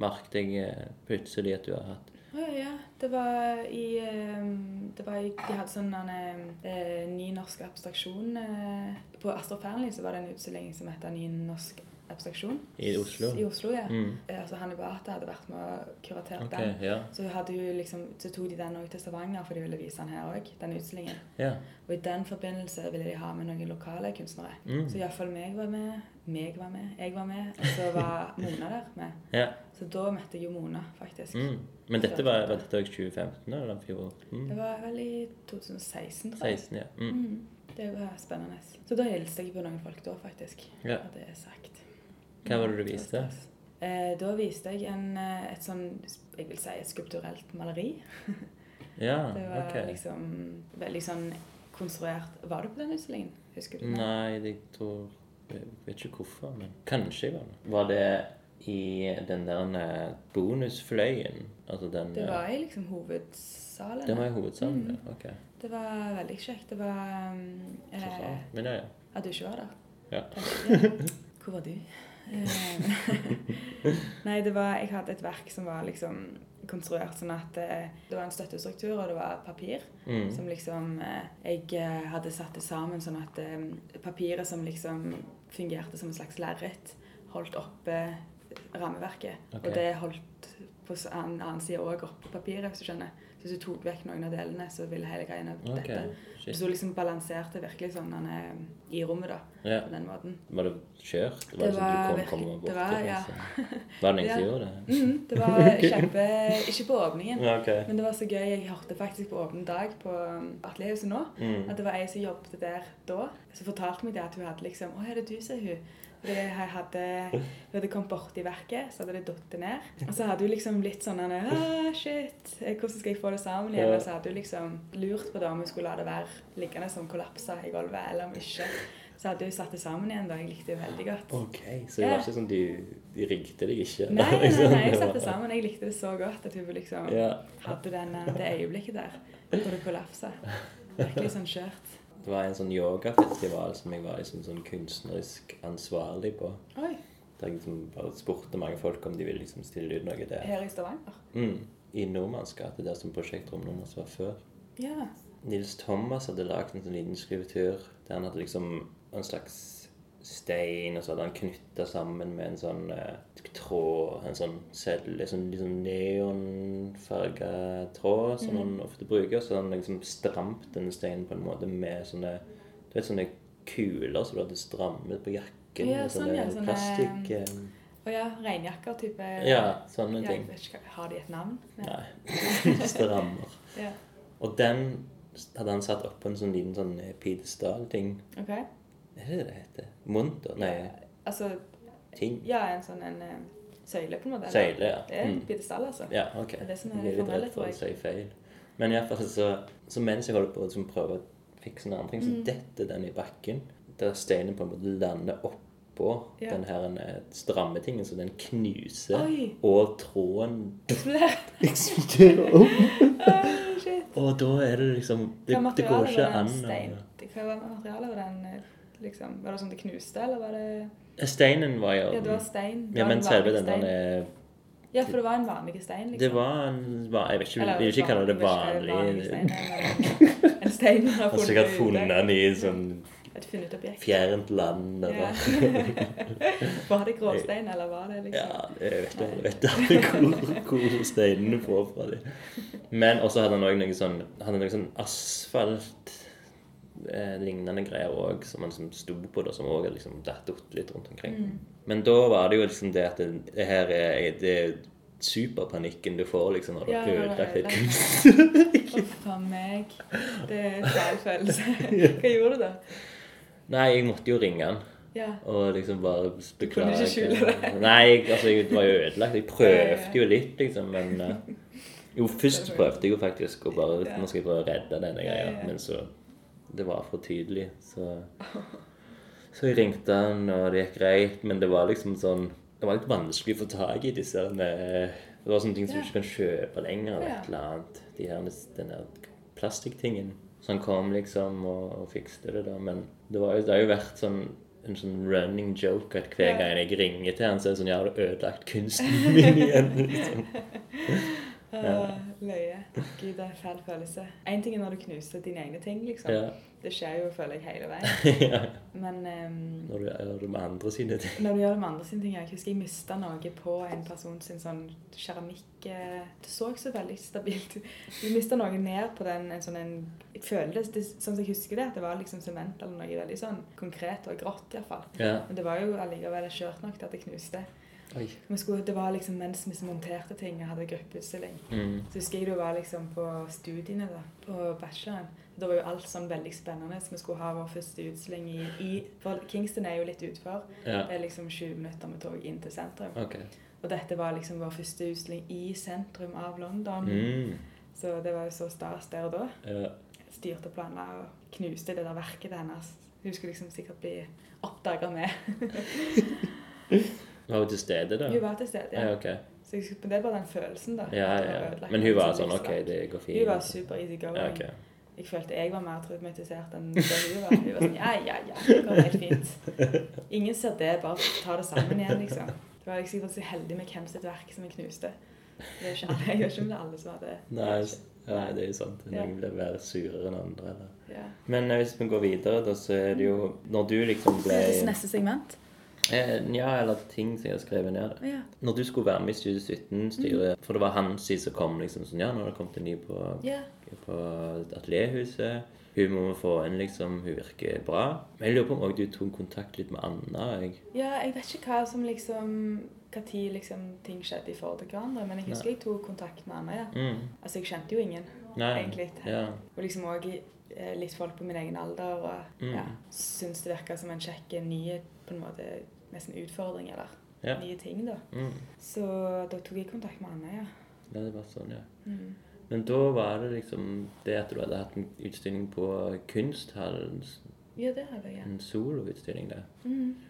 S2: merket jeg eh, plutselig at du har hatt.
S1: Å ja, ja. Det var i eh, det var i, De hadde sånn eh, Ny norsk abstraksjon. eh, På Astrup Fearnley så var det en utstilling som heter Ny norsk abstraksjon.
S2: I Oslo?
S1: I Oslo, ja.
S2: Mm.
S1: Eh, Altså Hanne Beate hadde vært med og kuratert
S2: Ok,
S1: den.
S2: ja.
S1: Så, hun hadde jo liksom, så tok de den også til Stavanger, for de ville vise den her òg. Den utstillingen.
S2: ja.
S1: Og i den forbindelse ville de ha med noen lokale kunstnere.
S2: Mm.
S1: Så iallfall meg var med. Meg var med. Jeg var med. Og så
S2: (laughs)
S1: var Mona der med.
S2: ja.
S1: Så da møtte jeg jo Mona, faktisk.
S2: Mm. Men dette var, var dette også 2015 eller fjor?
S1: Det
S2: Mm.
S1: var vel i 2016, tror jeg.
S2: 16, ja. Mm.
S1: Mm. Det var spennende. Så da hilste jeg på noen folk da, faktisk.
S2: Ja.
S1: Og det er sagt.
S2: Hva var det du viste?
S1: Eh, da viste jeg en, eh, et sånn, jeg vil si, et skulpturelt maleri. (laughs)
S2: Ja,
S1: Det var
S2: Ah, ok.
S1: liksom veldig sånn konstruert. Var du på den utstillingen? Husker du det?
S2: Nei, jeg tror Jeg vet ikke hvorfor, men kanskje jeg var det. Var det i den der eh, bonusfløyen? Altså den
S1: Det
S2: eh,
S1: var i liksom hovedsalen.
S2: Den var i hovedsalen,
S1: Mm.
S2: ja. Ok.
S1: Det var veldig kjekt. Det var um,
S2: Så bra.
S1: eh,
S2: Men ja, ja.
S1: At du ikke var der.
S2: Ja.
S1: Hvor (laughs) var du? Eh, Nei, det var Jeg hadde et verk som var liksom konstruert sånn at eh, det var en støttestruktur, og det var papir
S2: Mm.
S1: som liksom eh, Jeg eh, hadde satt det sammen sånn at eh, papiret som liksom fungerte som en slags lerret, holdt oppe rammeverket.
S2: Ok.
S1: Og det holdt på s- en annen side òg oppe papiret, hvis du skjønner. Så hvis du tok vekk noen av delene, så ville hele greia
S2: Ok,
S1: dette.
S2: shit.
S1: Så liksom balanserte virkelig sånn han er i rommet, da.
S2: Ja.
S1: På den måten.
S2: Var det kjørt? Var
S1: Det
S2: det, sånn
S1: var
S2: du kom,
S1: virkelig-
S2: kom bort
S1: det var-
S2: til,
S1: ja.
S2: liksom?
S1: (laughs)
S2: Var det ingen som
S1: Ja.
S2: gjorde det? (laughs)
S1: Mm, det var kjempe Ikke på åpningen.
S2: Ja, ok.
S1: Men det var så gøy. Jeg hørte faktisk på åpen dag på um, Atlehuset nå
S2: Mm.
S1: at det var ei som jobbet der da, som fortalte meg det at hun hadde liksom Å, er det du, sa hun. For det her hadde, hun hadde kommet borti verket, så hadde det datt ned. Og så hadde hun liksom litt sånn «Å, shit, eh, hvordan skal jeg få det sammen igjen?
S2: Ja.
S1: Og så hadde hun liksom lurt på det om hun skulle la det være liggende som kollapsa i gulvet, eller om ikke. Så hadde hun satt det sammen igjen, da. Jeg likte det veldig godt.
S2: Ok, så det var
S1: Ja.
S2: ikke sånn de, de ringte deg ikke?
S1: Nei, nei,
S2: liksom,
S1: nei, jeg
S2: var-
S1: satte det sammen. Jeg likte det så godt at hun liksom
S2: Ja.
S1: hadde den, eh, det øyeblikket der hvor det kollapsa. Virkelig sånn skjørt.
S2: Det var en sånn yogafestival som jeg var liksom sånn kunstnerisk ansvarlig på.
S1: Oi,
S2: Der jeg liksom bare spurte mange folk om de ville liksom stille ut noe der.
S1: her i Stavanger?
S2: Mm. I Nordmanns gate, der som prosjektrommet hans var før.
S1: Ja.
S2: Nils Thomas hadde lagd en sånn liten skrivetur der han hadde liksom en slags stein, og så hadde han knytta sammen med en sånn eh, tråd, en sånn seddel, en sånn liksom neonfarga tråd
S1: Mhm.
S2: som han ofte bruker. Så han liksom stramt denne steinen på en måte med sånne du vet, sånne kuler som du hadde strammet på jakken.
S1: Ja,
S2: med
S1: sånn, ja, sånne- eh,
S2: plastikk eh,
S1: Og ja, regnjakker type
S2: Ja, sånne
S1: Ja, jeg
S2: ting.
S1: vet ikke, hva- Har de et navn?
S2: Nei. (laughs) Strammer.
S1: Ja.
S2: Og den hadde han satt oppå en sånn liten sånn pidestall-ting.
S1: OK.
S2: Er det det det heter? Munter? Nei,
S1: Altså
S2: ting.
S1: Ja, en sånn en eh, søyle, på en måte. eller?
S2: Søyle, ja.
S1: Det er en
S2: Mm.
S1: pidestall, altså. (laughs)
S2: Ja, ok.
S1: Det er det som er
S2: Jeg blir litt
S1: formelle,
S2: redd for å
S1: tror
S2: si feil. Men i hvert fall så, så mens jeg holder på å liksom prøve å fikse en annen ting,
S1: Mm.
S2: så detter den i bakken. Der steinen på en måte lander oppå
S1: Ja.
S2: den her eh, stramme tingen, så den knuser.
S1: Oi.
S2: Og tråden
S1: Eksplodert.
S2: eksploderer opp.
S1: Å, Shit.
S2: Og da er det liksom Det,
S1: Hva
S2: det går
S1: materiale
S2: ikke
S1: var
S2: an
S1: den
S2: å
S1: stein? Hva var materialet var den eh, liksom Var det sånn det knuste, eller var det
S2: Steinen var jo
S1: Ja, det var stein. Det
S2: Ja,
S1: var
S2: men
S1: en
S2: selve
S1: vanlig
S2: den der
S1: stein.
S2: eh,
S1: Ja, for det var en vanlig stein, liksom.
S2: Det var en va- Jeg vet ikke,
S1: Eller
S2: jeg vil ikke kalle det
S1: vanlig-
S2: vanlig.
S1: vanlig stein,
S2: (laughs)
S1: eller En stein man har
S2: Han har sikkert
S1: funnet
S2: funnet
S1: ute.
S2: den i et sånn
S1: Et funnet objekt.
S2: fjernt land
S1: Ja.
S2: eller
S1: (laughs) Var det gråstein, eller var det
S2: (laughs)
S1: liksom
S2: Ja, jeg vet jeg vet aldri hvor, hvor steinene får fra dem. Men også hadde han òg noe sånn hadde noe sånn asfalt-lignende greier òg, som han liksom sto på, da, som òg hadde liksom datt ut litt rundt omkring.
S1: Mm.
S2: Men da var det jo liksom det at det, det her er det er superpanikken du får liksom når du
S1: Ja,
S2: har
S1: når du har
S2: ødelagt et
S1: ødelagt.
S2: kunstverk.
S1: Uff a meg. Det er en feil
S2: (laughs)
S1: følelse. Hva gjorde du da?
S2: Nei, jeg måtte jo ringe han.
S1: Ja.
S2: Og liksom bare beklage.
S1: ikke skjule det.
S2: (laughs) Nei, jeg, altså, jeg var jo ødelagt. Jeg prøvde jo litt, liksom,
S1: (laughs)
S2: men eh, Jo, først prøvde jeg jo faktisk å bare
S1: Ja.
S2: Nå skal jeg prøve å redde denne
S1: Ja, ja,
S2: greia,
S1: ja.
S2: men så Det var for tydelig, så Så jeg ringte han, og det gikk greit, men det var liksom sånn Det var litt vanskelig å få tak i disse eh, Det var sånne ting som du
S1: Ja.
S2: ikke kan kjøpe lenger, eller
S1: Ja.
S2: et eller annet. De her, den der plastikktingen. Så han kom liksom og, og fikste det, da. Men det, var jo, det har jo vært sånn en sånn running joke at hver
S1: Ja.
S2: gang jeg ringer til han, så er det sånn Ja, har du ødelagt kunsten min
S1: (laughs)
S2: igjen? liksom.
S1: Uh, løye. Gud, det er en fæl følelse. Én ting er når du knuser dine egne ting, liksom.
S2: Ja.
S1: Det skjer jo, føler jeg, hele
S2: (laughs)
S1: veien.
S2: ja.
S1: Men ehm,
S2: Når du gjør det med andre sine ting.
S1: Når du gjør det med andre sine ting, jeg husker jeg mista noe på en person sin sånn keramikk eh, Det så ikke så veldig stabilt ut. Du mista noe ned på den en sånn en Jeg føler det, det sånn som jeg husker det, at det var liksom sement eller noe veldig sånn konkret og grått iallfall.
S2: Ja.
S1: Men det var jo allikevel skjørt nok til at det knuste.
S2: Oi.
S1: Vi skulle, det var liksom mens vi monterte ting og hadde gruppeutstilling.
S2: Mm.
S1: Så husker jeg det var liksom på studiene da, på bacheloren. Da var jo alt sånn veldig spennende. Så vi skulle ha vår første utstilling i, i For Kingston er jo litt utfor.
S2: Ja.
S1: Det er liksom 20 minutter med tog inn til sentrum.
S2: Ok.
S1: Og dette var liksom vår første utstilling i sentrum av London.
S2: Mm.
S1: Så det var jo så stas der og da.
S2: Ja.
S1: Styrte og planla og knuste det der verket hennes. Hun skulle liksom sikkert bli oppdaga med.
S2: Var hun til stede, da?
S1: hun var til stede,
S2: Ja,
S1: ja.
S2: ok.
S1: Så jeg husker, men det er bare den følelsen, da.
S2: Ja,
S1: at det var
S2: ja.
S1: ødelagt
S2: Men hun var
S1: hennes
S2: sånn
S1: livsverk.
S2: OK, det går fint.
S1: Hun var super easy going.
S2: Ja, ok.
S1: Jeg følte jeg var mer traumatisert enn det hun var. Hun var sånn, ja, ja, ja, det går helt fint. liksom Ingen ser det, bare ta det sammen igjen, liksom. Det var jeg sikkert så heldig med hvem sitt verk som jeg knuste. Det er ikke alle, jeg vet ikke om det er alle som har det.
S2: Nei, s- ja, det er jo sant. Noen blir mer surere enn andre. Eller.
S1: Ja.
S2: Men eh, hvis vi går videre, da så er det jo Når du liksom ble
S5: Neste segment.
S2: Eh, Ja, eller ting som jeg har skrevet ned. da.
S5: Ja.
S2: Når du skulle være med i Studio 17-styret,
S1: Mm.
S2: for det var Hansi som kom liksom sånn Ja, nå har det kommet en ny på,
S5: Ja.
S2: på Atelierhuset. Hun må vi få inn, liksom. Hun virker bra. Men jeg lurer på om også du tok kontakt litt med Anna. Jeg.
S1: ja, jeg vet ikke hva som liksom hva tid liksom ting skjedde i forhold til hverandre, men jeg husker jeg tok kontakt med Anna. ja.
S2: Mm.
S1: Altså, jeg kjente jo ingen,
S2: Nei.
S1: egentlig.
S2: Ja.
S1: Og liksom òg litt folk på min egen alder. Og
S2: Mm.
S1: ja, syns det virka som en kjekk eh, ny på en måte, nesten utfordring, eller
S2: Ja.
S1: nye ting, da.
S2: Mm.
S1: Så da tok jeg kontakt med Anna, ja. Mm.
S2: Ja, det var sånn, ja. Men da var det liksom det at du hadde hatt en utstilling på Kunsthallen, s-
S1: Ja, det hadde jeg. ja. Mm.
S2: en soloutstilling der,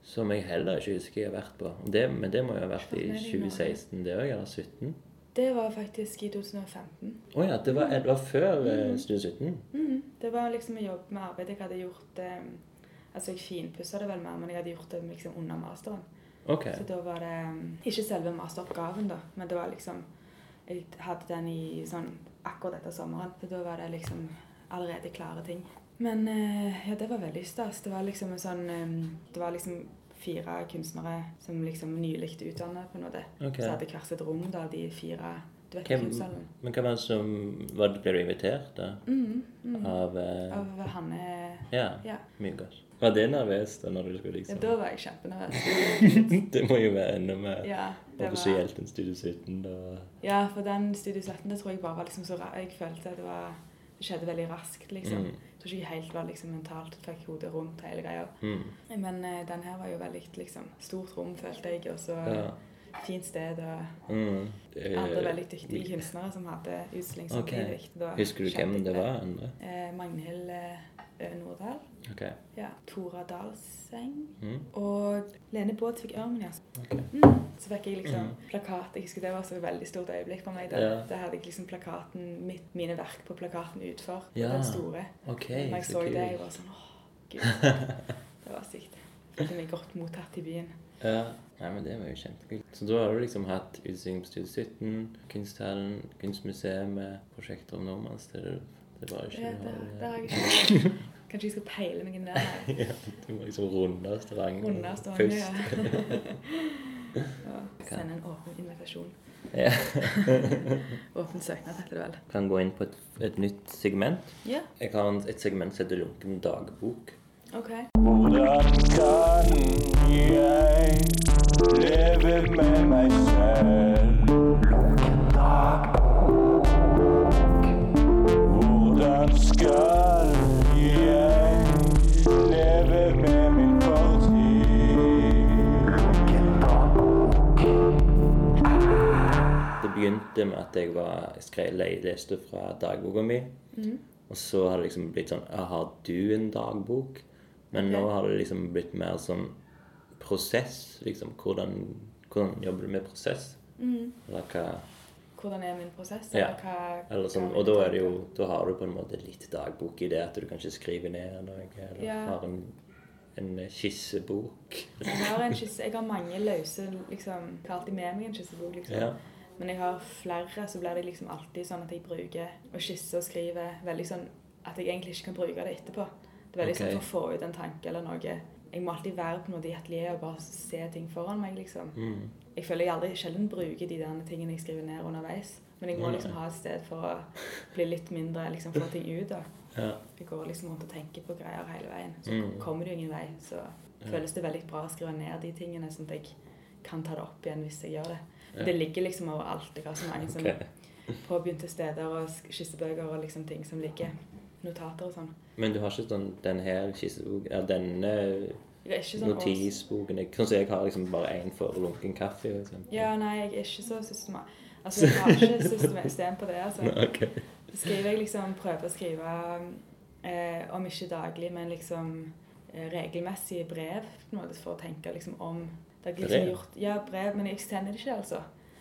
S2: som jeg heller ikke husker jeg har vært på. Og Det, men det må jo ha vært i
S1: Nei, det må det.
S2: 2016, det òg, eller 17?
S1: Det var faktisk i 2015.
S2: Å ja, det var, det var før
S1: Mm.
S2: eh, Studio 17?
S1: Mhm. Det var liksom en jobb med arbeid jeg hadde gjort eh, Altså, jeg finpussa det vel mer, men jeg hadde gjort det liksom under masteren.
S2: Ok.
S1: Så da var det eh, ikke selve masteroppgaven, da, men det var liksom Jeg hadde den i sånn akkurat etter sommeren, så da var det liksom allerede klare ting. Men eh, ja, det var veldig stas. Det var liksom en sånn eh, Det var liksom fire kunstnere som liksom nylig utdanna på en måte.
S2: Ok.
S1: Så hadde hvert sitt rom, da, de fire Du vet,
S2: Hvem,
S1: kunsthallen.
S2: men hvem var det som var, det- Ble du invitert, da?
S1: Mhm, mhm.
S2: Av eh,
S1: Av Hanne
S2: Ja.
S1: Ja.
S2: Mjøgass. Var det nervøst da når du skulle
S1: Ja,
S2: liksom
S1: da var jeg kjempenervøs.
S2: (laughs) Det må jo være enda mer
S1: Ja, det var,
S2: offisielt enn Studio 17. da.
S1: ja, for den studiestøtten, det tror jeg bare var liksom så ra- Jeg følte at det var det skjedde veldig raskt, liksom.
S2: Mm.
S1: Jeg tror ikke jeg helt var liksom mentalt fikk hodet rundt hele greia.
S2: Mm.
S1: Men eh, den her var jo veldig liksom stort rom, følte jeg, og så
S2: Ja.
S1: fint sted. og
S2: Mm.
S1: andre
S2: Eh,
S1: veldig dyktige kunstnere som hadde utstilling
S2: Ok.
S1: samtidig. Da
S2: Husker du
S1: kjente
S2: hvem
S1: jeg
S2: det var? andre?
S1: Eh, Magnhild eh, Nordahl.
S2: Ok.
S1: Ja. Tora Dalseng.
S2: Mm.
S1: Og Lene Båtvik Ørmen, ja. Mm. Så fikk jeg liksom plakat. Jeg husker det var så et veldig stort øyeblikk for meg. Da,
S2: Mm. Ja.
S1: da hadde jeg liksom plakaten, mitt, mine verk på plakaten utfor.
S2: Ja.
S1: Den store.
S2: Ok,
S1: Når jeg
S2: så
S1: så det,
S2: kult.
S1: jeg var sånn åh, gud.
S2: (laughs)
S1: Det var sykt. Følte meg godt mottatt i byen.
S2: Ja. Nei, men det var jo kjempekult. Så da har du liksom hatt utstilling på Studio 17, Kunsthallen, Kunstmuseet, prosjekter om nordmannssteder. Det var ikke
S1: Ja,
S2: du
S1: det,
S2: har- (laughs)
S1: det har jeg Kanskje jeg skal peile meg inn der. her.
S2: Ja, du må liksom runde restauranten
S1: Under stående.
S2: (laughs) først.
S1: (laughs) Ja. Ja, Sende en åpen
S2: (laughs)
S1: invitasjon.
S2: Ja.
S1: Åpen søknad, heter det vel.
S2: Kan gå inn på et, et nytt segment.
S1: Ja,
S2: Jeg har en- et segment som heter Lunken dagbok.
S1: OK.
S4: Hvordan kan jeg leve med meg selv? Hvordan skal jeg leve med min fortid?
S2: Det begynte med at jeg, var, jeg skrev, le- leste fra dagboka mi.
S1: Mm.
S2: Og så har det liksom blitt sånn «Ja, Har du en dagbok? Men nå har det liksom blitt mer sånn prosess. liksom, Hvordan, hvordan jobber du med prosess? Eller hva
S1: Hvordan er min prosess?
S2: Ja.
S1: Mm. Eller hva,
S2: eller sånn,
S1: hva
S2: Og da
S1: mine
S2: er det jo,
S1: tanker?
S2: da har du på en måte litt dagbok i det at du kanskje skriver ned noe, eller
S1: Ja.
S2: har en, en skissebok.
S1: Jeg har, en skisse, jeg har mange løse liksom, Jeg har alltid med meg en skissebok, liksom.
S2: Ja.
S1: Men jeg har flere, så blir det liksom alltid sånn at jeg bruker å skisse og skrive veldig sånn at jeg egentlig ikke kan bruke det etterpå. Det er veldig
S2: Ok.
S1: sånn for å få ut en tanke eller noe. Jeg må alltid være på en måte i atelieret og bare se ting foran meg, liksom.
S2: Mm.
S1: Jeg føler jeg aldri sjelden bruker de der tingene jeg skriver ned underveis. Men jeg må
S2: Nei.
S1: liksom ha et sted for å bli litt mindre, liksom få ting ut, da.
S2: Ja.
S1: Jeg går liksom rundt og tenker på greier hele veien. Så kommer det jo ingen vei, så føles det veldig bra å skrive ned de tingene, sånn at jeg kan ta det opp igjen hvis jeg gjør det. Men Det ligger liksom overalt. Jeg har så mange som
S2: Ok. (laughs)
S1: påbegynte steder og sk- skissebøker og liksom ting som ligger. Notater og sånn.
S2: Men du har ikke sånn den her skissebok, ja, denne
S1: Jeg er ikke sånn års-
S2: notisboken jeg- Sånn som jeg har liksom bare én for lunken kaffe, for eksempel.
S1: Ja, nei, jeg er ikke så systema... Altså, jeg har ikke system på det, altså.
S2: (laughs) Ok.
S1: skriver jeg liksom, prøver å skrive, eh, om ikke daglig, men liksom eh, regelmessig brev, på en måte, for å tenke liksom om det har liksom
S2: Brev?
S1: Gjort, ja, brev, men jeg sender det ikke, altså.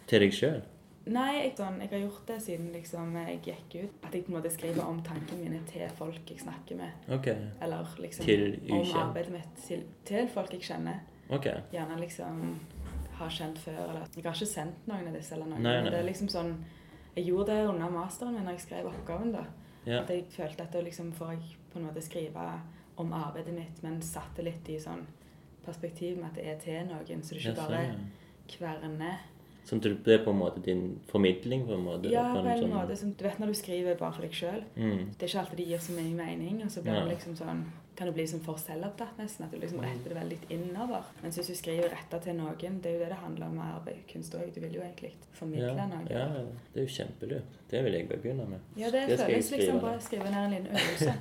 S2: Til deg sjøl?
S1: Nei, jeg, sånn, jeg har gjort det siden liksom, jeg gikk ut. At jeg på en måte skriver om tankene mine til folk jeg snakker med.
S2: Ok.
S1: Eller liksom
S2: Til
S1: om
S2: ukjent.
S1: arbeidet mitt til, til folk jeg kjenner.
S2: ok.
S1: Gjerne liksom har kjent før. Eller. Jeg har ikke sendt noen av disse. eller noen.
S2: Nei,
S1: men
S2: nei.
S1: Det er liksom sånn, Jeg gjorde det under masteren min når jeg skrev oppgaven. da.
S2: Ja.
S1: At jeg følte at da liksom får jeg på en måte skrive om arbeidet mitt, men satte litt i sånn perspektiv med at det er til noen, så det
S2: Ja,
S1: ikke
S2: sånn,
S1: bare
S2: ja.
S1: kverne.
S2: Sånn at det blir på en måte din formidling? på en måte?
S1: Ja,
S2: på
S1: på en
S2: sånn-
S1: måte. Som, du vet når du skriver bare for deg sjøl,
S2: Mm.
S1: det er ikke alltid det gir så mye mening. og så blir
S2: Nei.
S1: det liksom sånn, kan du bli liksom for selvopptatt, nesten. At du
S2: Mm.
S1: liksom retter det veldig litt innover. Mens hvis du skriver retta til noen, det er jo det det handler om med arbeid, kunst òg. Du vil jo egentlig formidle
S2: Ja,
S1: noe.
S2: ja, det er jo kjempelurt. Det vil jeg bare begynne med.
S1: Ja, det,
S2: skal jeg
S1: føles
S2: skrive
S1: liksom bra å
S2: ned.
S1: skrive ned en liten øvelse.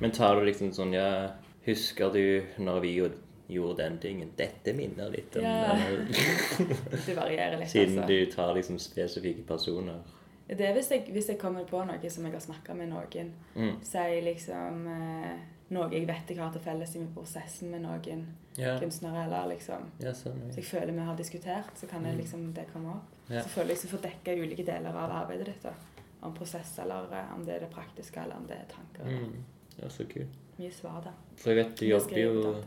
S2: Men tar du liksom sånn Ja, husker du når vi jo gjorde den tingen? Dette minner litt om
S1: Ja. (laughs)
S2: den.
S1: Det varierer litt,
S2: Siden
S1: altså.
S2: du tar liksom spesifikke personer.
S1: Det er hvis jeg, hvis jeg kommer på noe som jeg har snakka med noen.
S2: Mm.
S1: Si liksom eh, noe jeg vet jeg har til felles i min prosessen med noen
S2: Ja.
S1: kunstnere. eller liksom.
S2: ja, sånn. ja.
S1: Så jeg føler vi har diskutert, så kan det liksom det komme opp.
S2: Mm. Ja.
S1: Så føler jeg så får dekka ulike deler av arbeidet ditt. da. Om prosess, eller eh, om det er det praktiske, eller om det er tanker. eller-
S2: Mm. Ja, så kult.
S1: Mye svar, da.
S2: For jeg vet du
S1: Mye
S2: jobber
S1: skriv på
S2: jo
S1: data.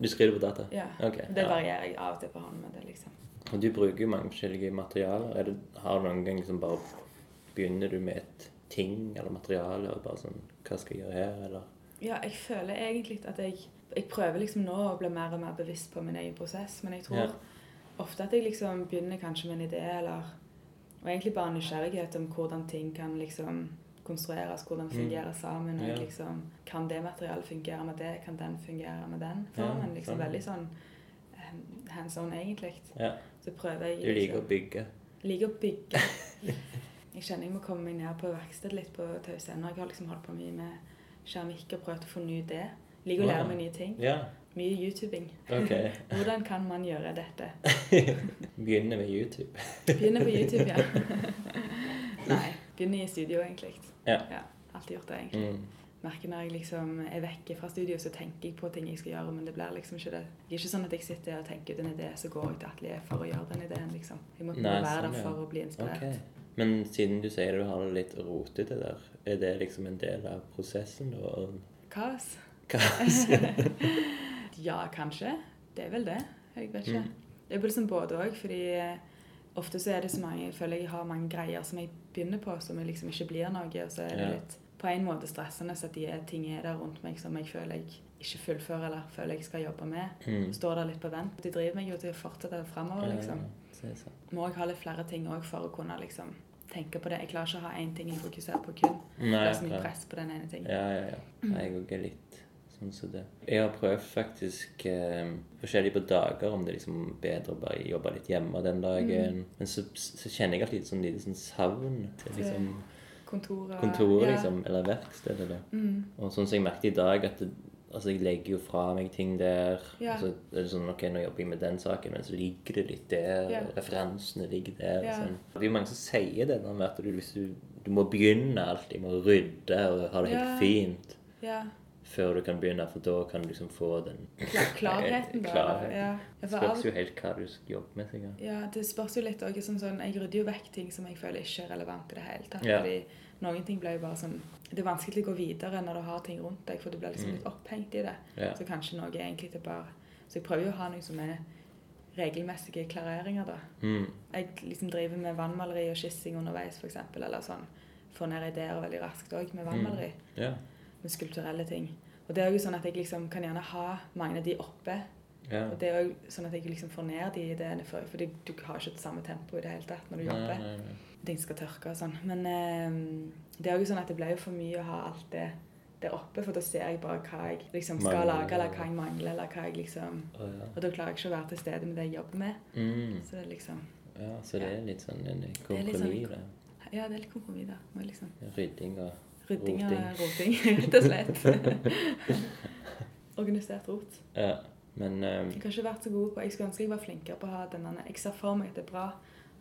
S2: Du skriver på data?
S1: Ja.
S2: Ok,
S1: Det
S2: ja.
S1: varierer jeg av og til på hånden, men det er liksom
S2: Og du bruker jo mange forskjellige materialer. Er det, har du noen gang liksom bare Begynner du med et ting eller materiale og bare sånn Hva skal jeg gjøre her, eller?
S1: Ja, jeg føler egentlig at jeg Jeg prøver liksom nå å bli mer og mer bevisst på min egen prosess, men jeg tror
S2: Ja.
S1: ofte at jeg liksom begynner kanskje med en idé, eller Og egentlig bare nysgjerrighet om hvordan ting kan liksom konstrueres, hvordan fungere sammen, og
S2: Mm. Ja.
S1: liksom Kan det materialet fungere med det? Kan den fungere med den
S2: Ja,
S1: formen? liksom
S2: sånn.
S1: Veldig sånn eh, hands on, egentlig.
S2: Ja.
S1: Så prøver jeg
S2: Du liker å
S1: (laughs)
S2: bygge.
S1: liker å bygge. Jeg kjenner jeg må komme meg ned på verkstedet litt på tause ender. Jeg har liksom holdt på mye med keramikk og prøvd å fornye det. Liker å lære
S2: Wow.
S1: meg nye ting.
S2: Ja, (laughs)
S1: Mye YouTubing.
S2: OK.
S1: (laughs) Hvordan kan man gjøre dette?
S2: Begynner med YouTube.
S1: Begynner på
S2: (laughs)
S1: YouTube, ja. Nei. Begynner i studio, egentlig.
S2: Ja.
S1: Alltid gjort det, egentlig.
S2: Mm.
S1: Merker når jeg liksom er vekke fra studio, så tenker jeg på ting jeg skal gjøre, men det blir liksom ikke det. Det er ikke sånn at jeg sitter og tenker ut en idé, så går jeg til atelier for å gjøre den ideen, liksom. Jeg må
S2: Nei,
S1: kunne være
S2: sånn, ja.
S1: der for å bli inspirert.
S2: Ok. Men siden du sier du har det litt rotete der, er det liksom en del av prosessen da? og-
S1: Kaos.
S2: Hva?
S1: Ja, kanskje. Det er vel det. Jeg vet ikke. Det er vel liksom både òg, fordi eh, ofte så er det så mange Jeg føler jeg har mange greier som jeg begynner på, som jeg liksom ikke blir noe. Og så er det
S2: Ja.
S1: litt på en måte stressende så at de er, ting er der rundt meg som jeg føler jeg ikke fullfører, eller føler jeg skal jobbe med.
S2: Mm.
S1: Står der litt på vent. De driver meg jo til (laughs) å fortsette framover, liksom.
S2: Ja, så er det sant.
S1: Må jeg ha litt flere ting òg for å kunne liksom tenke på det. Jeg klarer ikke å ha én ting jeg fokuserer på kun. Det
S2: Nei,
S1: er så
S2: klar.
S1: mye press på den ene tingen.
S2: Ja, ja, ja. Nei, Jeg òg er litt sånn som det. Jeg har prøvd faktisk eh, forskjellig på dager om det liksom er bedre å bare jobbe litt hjemme den dagen.
S1: Mm.
S2: Men så, så kjenner jeg alltid sånn lite sånn savn til liksom
S1: Kontoret
S2: kontoret,
S1: ja.
S2: liksom. Eller verkstedet. Da.
S1: Mm.
S2: Og sånn som jeg merket i dag, at det, altså, jeg legger jo fra meg ting der.
S1: Ja.
S2: Og så er det sånn OK, nå jobber jeg med den saken, men så ligger det litt der.
S1: Ja.
S2: Referansene ligger der.
S1: Ja.
S2: og Sånn. Det er jo mange som sier det der med at du, hvis du, du må begynne alltid med å rydde og ha det helt
S1: Ja.
S2: fint
S1: ja.
S2: før du kan begynne, for da kan du liksom få den
S1: Kla-
S2: (laughs)
S1: Klarheten, da.
S2: Klarhet.
S1: eller? Ja. Ja,
S2: Det
S1: for av,
S2: spørs jo helt hva du skal jobbe med, sikkert.
S1: ja, det spørs jo litt òg. Sånn, sånn, jeg rydder jo vekk ting som jeg føler ikke er relevant i det hele tatt.
S2: Ja.
S1: fordi noen ting blir jo bare sånn Det er vanskelig å gå videre når du har ting rundt deg, for du blir liksom litt opphengt i det.
S2: Mm. Ja.
S1: Så kanskje noe er egentlig det bare Så jeg prøver jo å ha noen som er regelmessige klareringer, da.
S2: Mm.
S1: Jeg liksom driver med vannmaleri og skissing underveis, f.eks., eller sånn. Får ned ideer veldig raskt òg med vannmaleri.
S2: Mm. Ja.
S1: Med skulpturelle ting. Og det er jo sånn at jeg liksom kan gjerne ha mange av de oppe.
S2: ja.
S1: Og det er jo sånn at jeg liksom får ned de ideene, for, fordi du har ikke det samme tempo i det hele tatt når du
S2: Nei,
S1: jobber.
S2: nei, nei.
S1: Ting skal tørke og sånn. Men eh, det er jo sånn at det blir jo for mye å ha alt det der oppe, for da ser jeg bare hva jeg liksom skal
S2: Mangler,
S1: lage, eller
S2: ja.
S1: hva jeg mangler, eller hva jeg liksom
S2: Å, ja.
S1: Og da klarer jeg ikke å være til stede med det jeg jobber med.
S2: Mm.
S1: Så det er liksom
S2: ja, så det er litt sånn en
S1: litt
S2: kompromiss,
S1: sånn-
S2: det.
S1: Ja, det er litt kompromiss, da. Må jeg liksom
S2: Rydding og
S1: Rydding og
S2: roting.
S1: roting, (laughs) rett og slett. Organisert rot.
S2: (laughs) Ja. Men eh,
S1: Jeg har ikke vært så god på Jeg skulle ønske jeg var flinkere på å ha denne Jeg ser for meg at det er bra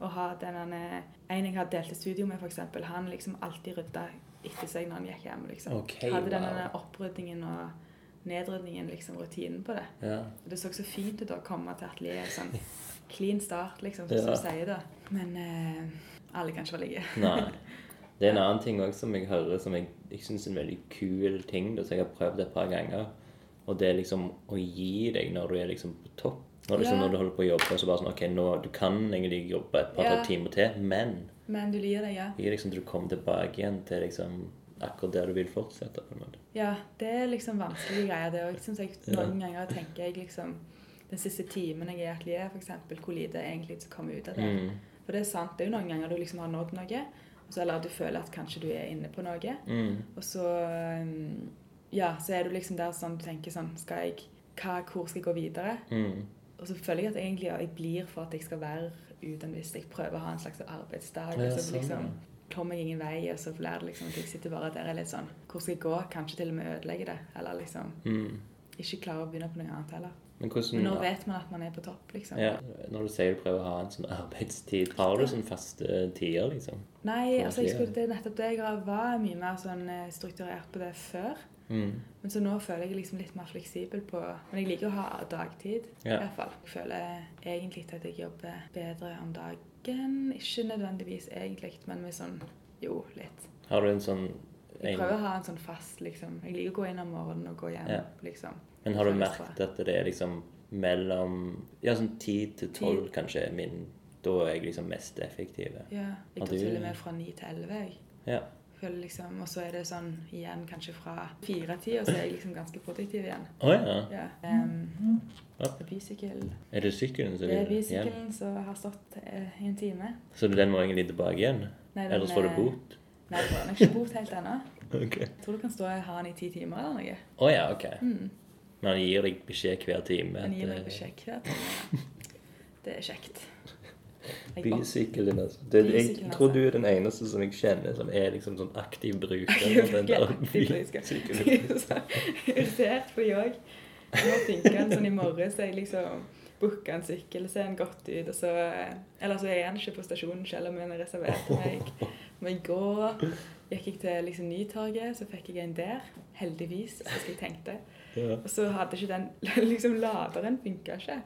S1: å ha denne En jeg har delt i studio med, f.eks. Han liksom alltid rydda etter seg når han gikk hjem. liksom.
S2: OK,
S1: Hadde denne
S2: wow.
S1: oppryddingen og nedrydningen, liksom rutinen på det.
S2: Ja.
S1: Det så så fint ut å komme til atelieret sånn
S2: (laughs)
S1: clean start, liksom, som
S2: Ja.
S1: du sier da. Men eh, alle kan ikke være like.
S2: Nei. Det er en annen ting også som jeg hører som jeg, jeg syns er en veldig kul ting, da, som jeg har prøvd et par ganger. Og det er liksom å gi deg når du er liksom på topp. Og liksom
S1: Ja.
S2: Når du holder på å jobbe, så bare sånn OK, nå du kan egentlig jobbe et par-tre
S1: Ja.
S2: timer til, men
S1: (laughs) Men du liker det, ja.
S2: gi liksom til du kommer tilbake igjen til liksom akkurat der du vil fortsette. på en måte.
S1: Ja, det er liksom vanskelige greier, det òg. Syns jeg noen ganger tenker jeg liksom Den siste timen jeg er i atelier, f.eks., hvor lite egentlig som kommer ut av det.
S2: Mm.
S1: For det er sant, det er jo noen ganger du liksom har nådd noe, og så, eller du føler at kanskje du er inne på noe,
S2: Mm.
S1: og så um, Ja, så er du liksom der sånn du tenker sånn Skal jeg hva, Hvor skal jeg gå videre?
S2: Mm.
S1: Og så føler jeg at egentlig ja, jeg blir for at jeg skal være uten hvis jeg prøver å ha en slags arbeidsdag.
S2: Ja,
S1: og så
S2: sånn,
S1: liksom
S2: ja.
S1: kommer jeg ingen vei, og så blir det liksom at jeg sitter bare der og er litt sånn Hvor skal jeg gå? Kanskje til og med ødelegge det. Eller liksom
S2: Mm.
S1: ikke klare å begynne på noe annet heller.
S2: Men
S1: Men
S2: hvordan
S1: nå vet man at man er på topp, liksom.
S2: ja, Når du sier du prøver å ha en sånn arbeidstid, har du sånn faste tider, liksom?
S1: Nei,
S2: Hvordan
S1: altså jeg
S2: blir
S1: skulle, det er nettopp det. Jeg har- var mye mer sånn eh, strukturert på det før.
S2: Mm.
S1: Men så nå føler jeg liksom litt mer fleksibel på Men jeg liker å ha dagtid,
S2: Ja.
S1: i hvert fall. Jeg føler egentlig at jeg jobber bedre om dagen. Ikke nødvendigvis egentlig, men med sånn Jo, litt.
S2: Har du en sånn
S1: Jeg
S2: en-
S1: prøver å ha en sånn fast, liksom. Jeg liker å gå inn om morgenen og gå hjem,
S2: Ja.
S1: liksom.
S2: Men har du
S1: Føles
S2: merket at det er liksom mellom Ja, sånn ti til tolv, kanskje, er min Da er jeg liksom mest effektiv.
S1: Ja. Jeg
S2: Og
S1: tar
S2: du-
S1: til og med fra ni til elleve, jeg.
S2: Ja.
S1: Føler liksom, og så er det sånn igjen kanskje fra fire-ti, og så er jeg liksom ganske produktiv igjen.
S2: Å ja.
S1: Ja. Um,
S2: Ja.
S1: bysykkel.
S2: Er det sykkelen som
S1: Det er
S2: vil hjem?
S1: bysykkelen som har stått eh, i en time.
S2: Så den må egentlig tilbake igjen?
S1: Nei, den,
S2: Ellers får du
S1: eh,
S2: bot?
S1: Nei, det var nok ikke bot helt ennå.
S2: Ok.
S1: Jeg tror du kan stå og ha den i ti timer eller noe.
S2: Å ja, ok. Men han gir deg beskjed hver time?
S1: Den Mm. gir
S2: at,
S1: meg
S2: eh,
S1: beskjed hver time. Det er kjekt. Jeg opp-
S2: Bysykkelen, altså. Det, jeg
S1: Bysykkelen,
S2: tror
S1: altså.
S2: du er den eneste som jeg kjenner som er liksom sånn aktiv bruker
S1: (laughs) Jeg er
S2: av den
S1: virkelig
S2: der
S1: aktiv bruker.
S2: bysykkelen.
S1: Jeg er (laughs) så Irritert for jeg òg. Nå tenker han sånn i morges så jeg liksom booka en sykkel, ser den godt ut, og så eh, Eller så er han ikke på stasjonen selv om han er reservert til meg. Men i går gikk jeg til liksom Nytorget, så fikk jeg en der. Heldigvis, slik jeg tenkte.
S2: Ja.
S1: Og så hadde ikke den (laughs) liksom Laderen funka ikke.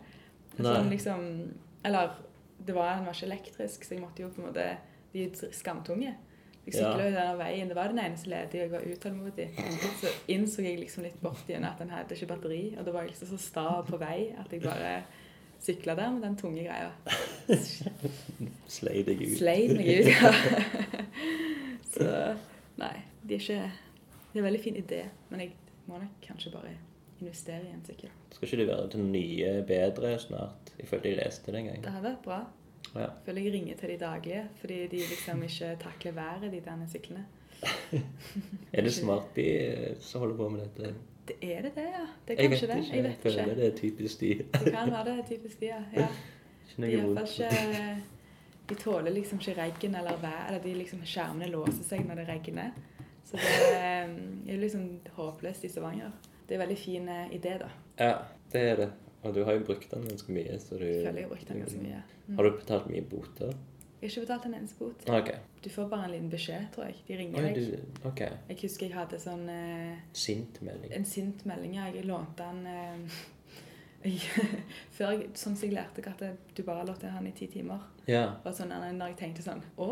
S1: Så
S2: Nei.
S1: den liksom, eller det var, den var ikke elektrisk, så jeg måtte jo på en måte De er skamtunge. Jeg
S2: Ja.
S1: sykla jo denne veien. Det var den eneste ledige, og jeg var utålmodig. Så innså jeg liksom litt borti henne at den hadde ikke batteri, og da var jeg liksom så sta på vei at jeg bare sykla der med den tunge greia.
S2: Slei deg ut.
S1: Sleit meg ut, ja. (laughs) Så nei, de er ikke Det er en veldig fin idé, men jeg må nok kanskje bare investere i en sykkel.
S2: Skal ikke det være til nye, bedre snart? Jeg følte jeg leste det en gang.
S1: Det hadde vært bra.
S2: Å ja. (laughs)
S1: Jeg føler jeg ringer til de daglige, fordi de liksom ikke takler været, de der syklene.
S2: Er det Smartby eh, som holder på med dette?
S1: Det er det det, ja. Det er kanskje det. Jeg vet
S2: føler
S1: ikke.
S2: det er typisk de.
S1: Det kan være det typisk de, ja. ja.
S2: (laughs) Ikke
S1: De
S2: noe
S1: er i hvert
S2: vondt.
S1: fall ikke eh, De tåler liksom ikke regn eller vær, eller de liksom skjermene låser seg når det regner. Så det er det er liksom håpløst i Stavanger. Det er en veldig fin eh, idé, da.
S2: Ja, det er det. Og du har jo brukt den ganske mye. Så du,
S1: Jeg føler jeg har brukt den ganske mye. Mm.
S2: Har du betalt mye boter?
S1: Jeg har ikke betalt en eneste bot.
S2: Ok.
S1: Du får bare en liten beskjed, tror jeg.
S2: Oi,
S1: De ringer
S2: du,
S1: deg.
S2: ok.
S1: Jeg husker jeg hadde sånn eh,
S2: Sint melding.
S1: en sint melding. ja. Jeg lånte den eh, (laughs) jeg, før jeg, Sånn som jeg lærte ikke at det- du bare låter han i ti timer.
S2: Ja.
S1: Og sånn, eh, når jeg tenkte sånn Å,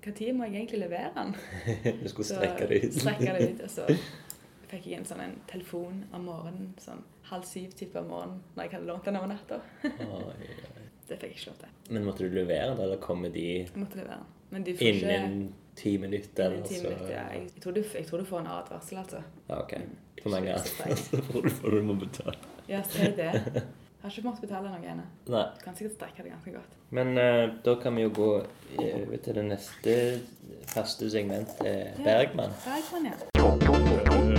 S1: når må jeg egentlig levere den?
S2: (laughs) Du skulle strekke det ut.
S1: strekke det ut. Og så fikk jeg en sånn en telefon om morgenen, sånn halv syv-type om morgenen, når jeg hadde lånt den over natta.
S2: (laughs) Oi, oi.
S1: (laughs) Det fikk jeg ikke lov til.
S2: Men måtte du levere det, eller komme de
S1: Jeg måtte levere den. Men du får ikke
S2: innen ti minutter?
S1: innen
S2: eller
S1: ti
S2: så-
S1: minutter. Ja. Jeg, jeg, tror du, jeg tror du får en advarsel, altså.
S2: Ja, ok.
S1: Mm.
S2: Hvor mange
S1: Ikke
S2: er
S1: så
S2: det? (laughs) Så får du for du må betale.
S1: Ja, si
S2: (laughs)
S1: det. Jeg har ikke måttet betale noe ennå.
S2: Nei.
S1: Du kan sikkert strekke det ganske godt.
S2: Men eh, da kan vi jo gå eh, over til det neste faste segment, eh,
S1: Ja.
S2: Bergman.
S1: Bergman, sånn, ja.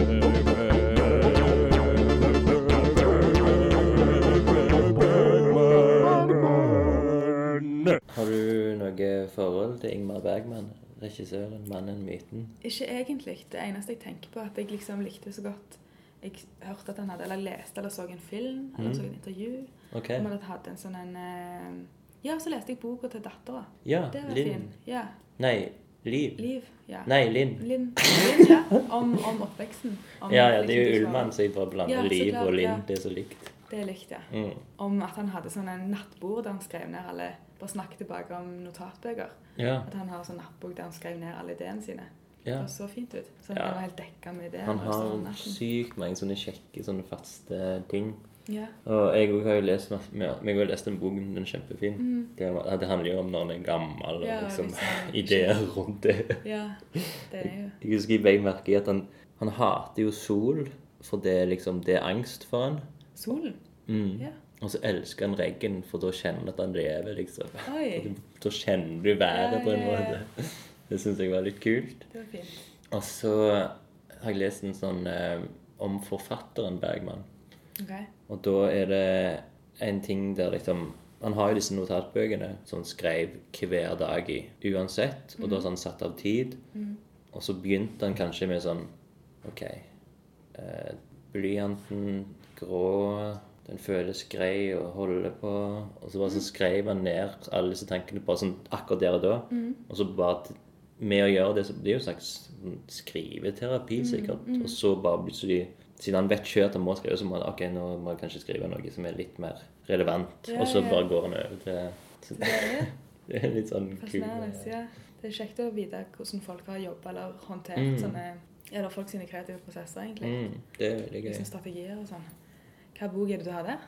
S2: Har du noe forhold til Ingmar Bergman? Regissøren, mannen, myten?
S1: Ikke egentlig. Det eneste jeg tenker på, er at jeg liksom likte så godt Jeg hørte at han hadde, eller leste eller så en film eller
S2: Mm.
S1: så et intervju.
S2: Ok.
S1: Om han hadde hatt en sånn en eh, Ja, så leste jeg boka til dattera.
S2: Ja,
S1: Det var
S2: Linn.
S1: fin. Ja.
S2: Nei, Liv.
S1: Liv. Ja.
S2: Nei, Linn.
S1: Linn. Linn, ja. Om, om oppveksten. Om
S2: Ja, ja, det er jo
S1: liksom,
S2: Ullmann, så jeg bare blander
S1: Ja, så
S2: Liv
S1: klart,
S2: og Linn.
S1: ja.
S2: Det er så likt.
S1: Det er likt, ja.
S2: Mm.
S1: Om at han hadde sånn en nattbord der han skrev ned alle Bare snakket tilbake om notatbøker.
S2: Ja.
S1: At han har sånn nattbok der han skrev ned alle ideene sine.
S2: Ja.
S1: Det så fint ut. Så
S2: Ja.
S1: han var helt dekka med det.
S2: Han
S1: når sånn det står om
S2: har
S1: natten.
S2: sykt mange sånne kjekke, sånne faste ting.
S1: Ja.
S2: Og jeg også har jo lest, masse- ja, jeg har jo lest en bok, den er kjempefin. Det, var- det handler jo om når en er gammel, og
S1: Mm. Ja,
S2: liksom, (laughs)
S1: liksom.
S2: ideer rundt det.
S1: ja. Det er jo
S2: Jeg husker jeg begge merke i at han, han hater jo sol, for det, er liksom, det er angst for han.
S1: solen.
S2: Mm.
S1: Ja.
S2: Og så elsker han regn, for da kjenner han at han lever, liksom.
S1: Oi.
S2: (laughs) Da kjenner du været på en
S1: Ja, ja, ja.
S2: måte. Det syns jeg var litt kult.
S1: Det var fint.
S2: Og så har jeg lest en sånn eh, om forfatteren Bergman.
S1: OK.
S2: Og da er det en ting der liksom Han har jo disse notatbøkene som han skrev hver dag i uansett. Og da har han satt av tid. Og så begynte han kanskje med sånn OK. Eh, blyanten grå, den føles grei å holde på. Og så
S1: Mm.
S2: bare så skrev han ned alle disse tankene bare sånn akkurat der og da.
S1: Mm.
S2: Og så bare t- med å gjøre det, så blir det jo en slags skriveterapi
S1: Mm,
S2: sikkert. Og så bare plutselig siden han vet selv at han må skrive, så må han ok, nå må jeg kanskje skrive noe som er litt mer relevant.
S1: Ja,
S2: og så
S1: ja.
S2: bare går han over til (laughs) så
S1: Det er jo
S2: Det er litt sånn kul
S1: fascinerende. Ja. Det er kjekt å vite hvordan folk har jobba eller håndtert
S2: Mm.
S1: sånne Eller folk sine kreative prosesser, egentlig.
S2: mm, Det er veldig gøy.
S1: Liksom strategier og sånn. Hva bok er det du har der?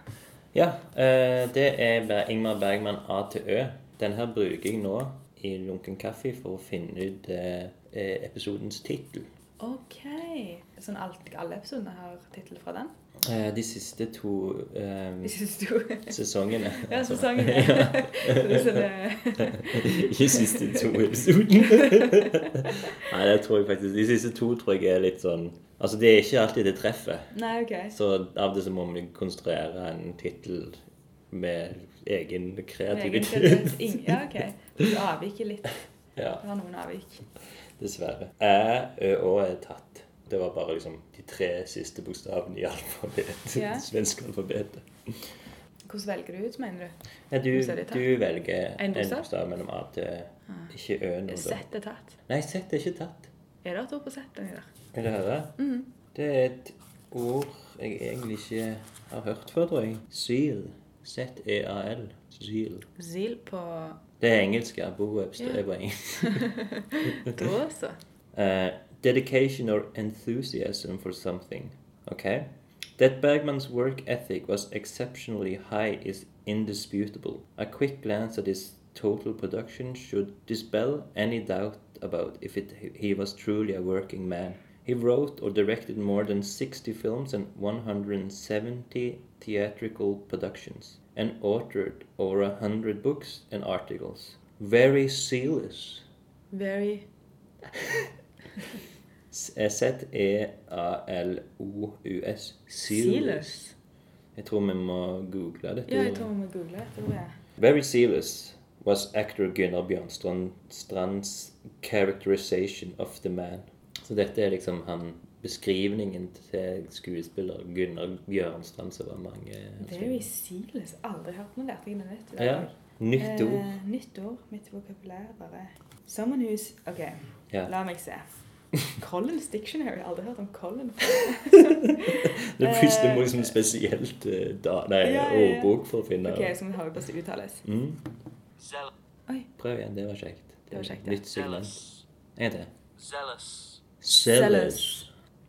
S2: Ja, eh, det er Ber- Ingmar Bergman A til Ø. Den her bruker jeg nå i Lunken kaffe for å finne ut eh, eh, episodens tittel.
S1: OK. Sånn alt, alle episodene har tittel fra den?
S2: Eh, de siste to eh,
S1: De siste to?
S2: sesongene.
S1: (laughs)
S2: (laughs)
S1: Ja, sesongen.
S2: Ja.
S1: Så det er
S2: (laughs) Ikke siste to episoden. (laughs) Nei, det tror jeg faktisk. De siste to tror jeg er litt sånn Altså, det er ikke alltid det treffer.
S1: Nei, OK.
S2: Så av det så må vi konstruere en tittel med egen kreativitet. (laughs)
S1: Egentlig, ing- Ja, OK. Du avviker litt.
S2: Ja,
S1: Det var noen avvik.
S2: dessverre. Æ, ø og er tatt. Det var bare liksom de tre siste bokstavene i alfabetet.
S1: Ja.
S2: Det (laughs) svenske alfabetet.
S1: Hvordan velger du ut, mener du?
S2: Nei, du,
S1: Så er det tatt.
S2: du velger
S1: En
S2: en
S1: bokstav?
S2: bokstav mellom A til Ø. Ikke Ø-en. og da.
S1: Ah. Sett er tatt.
S2: Nei, Z er ikke tatt.
S1: Er det et ord på sett? Mm. Daniel?
S2: Vil du høre? Det er et ord jeg egentlig ikke har hørt før, tror jeg. E Zeal. Z-e-a-l. Zeal.
S1: Zil på
S2: Det er engelsk, ja. Bo Webster
S1: Ja.
S2: er på
S1: (laughs)
S2: engelsk. (laughs)
S1: da, så.
S2: Eh, dedication or enthusiasm for something. Okay? That Bergman's work ethic was exceptionally high is indisputable. A quick glance at his total production should dispel any doubt about if it, he was truly a working man. He wrote or directed more than 60 films and 170 theatrical productions, and authored over 100 books and articles. Very zealous.
S1: Very
S2: E, Z-E-A-L-O-U-S.
S1: Sealers.
S2: Jeg tror vi må google dette.
S1: Ja, jeg tror vi må google etter ordet.
S2: Very Sealers was actor Gunnar Bjørnstrand Strands characterization of the man. Så dette er liksom han beskrivningen til skuespiller Gunnar Bjørnstrand, som var mange
S1: Very sealess. Aldri hørt noe lærte jeg det nytt. i
S2: Ja,
S1: dag.
S2: nytt ord.
S1: Eh, nytt ord. Mitt vokabulær bare Someone who's OK,
S2: Ja.
S1: la meg se. Collins Dictionary. Aldri hørt om Colin.
S2: (laughs) (laughs) Det første må liksom spesielt eh, da, nei,
S1: eh, Ja, ja, ja.
S2: ordbok for å finne
S1: OK, så vi hører hvordan det uttales.
S2: Mm.
S5: Zeal-
S1: Oi.
S2: Prøv igjen, det var kjekt.
S1: Det var kjekt, ja.
S2: Nytt segment.
S5: zealous,
S2: En gang til.
S5: zealous,
S1: Zealous.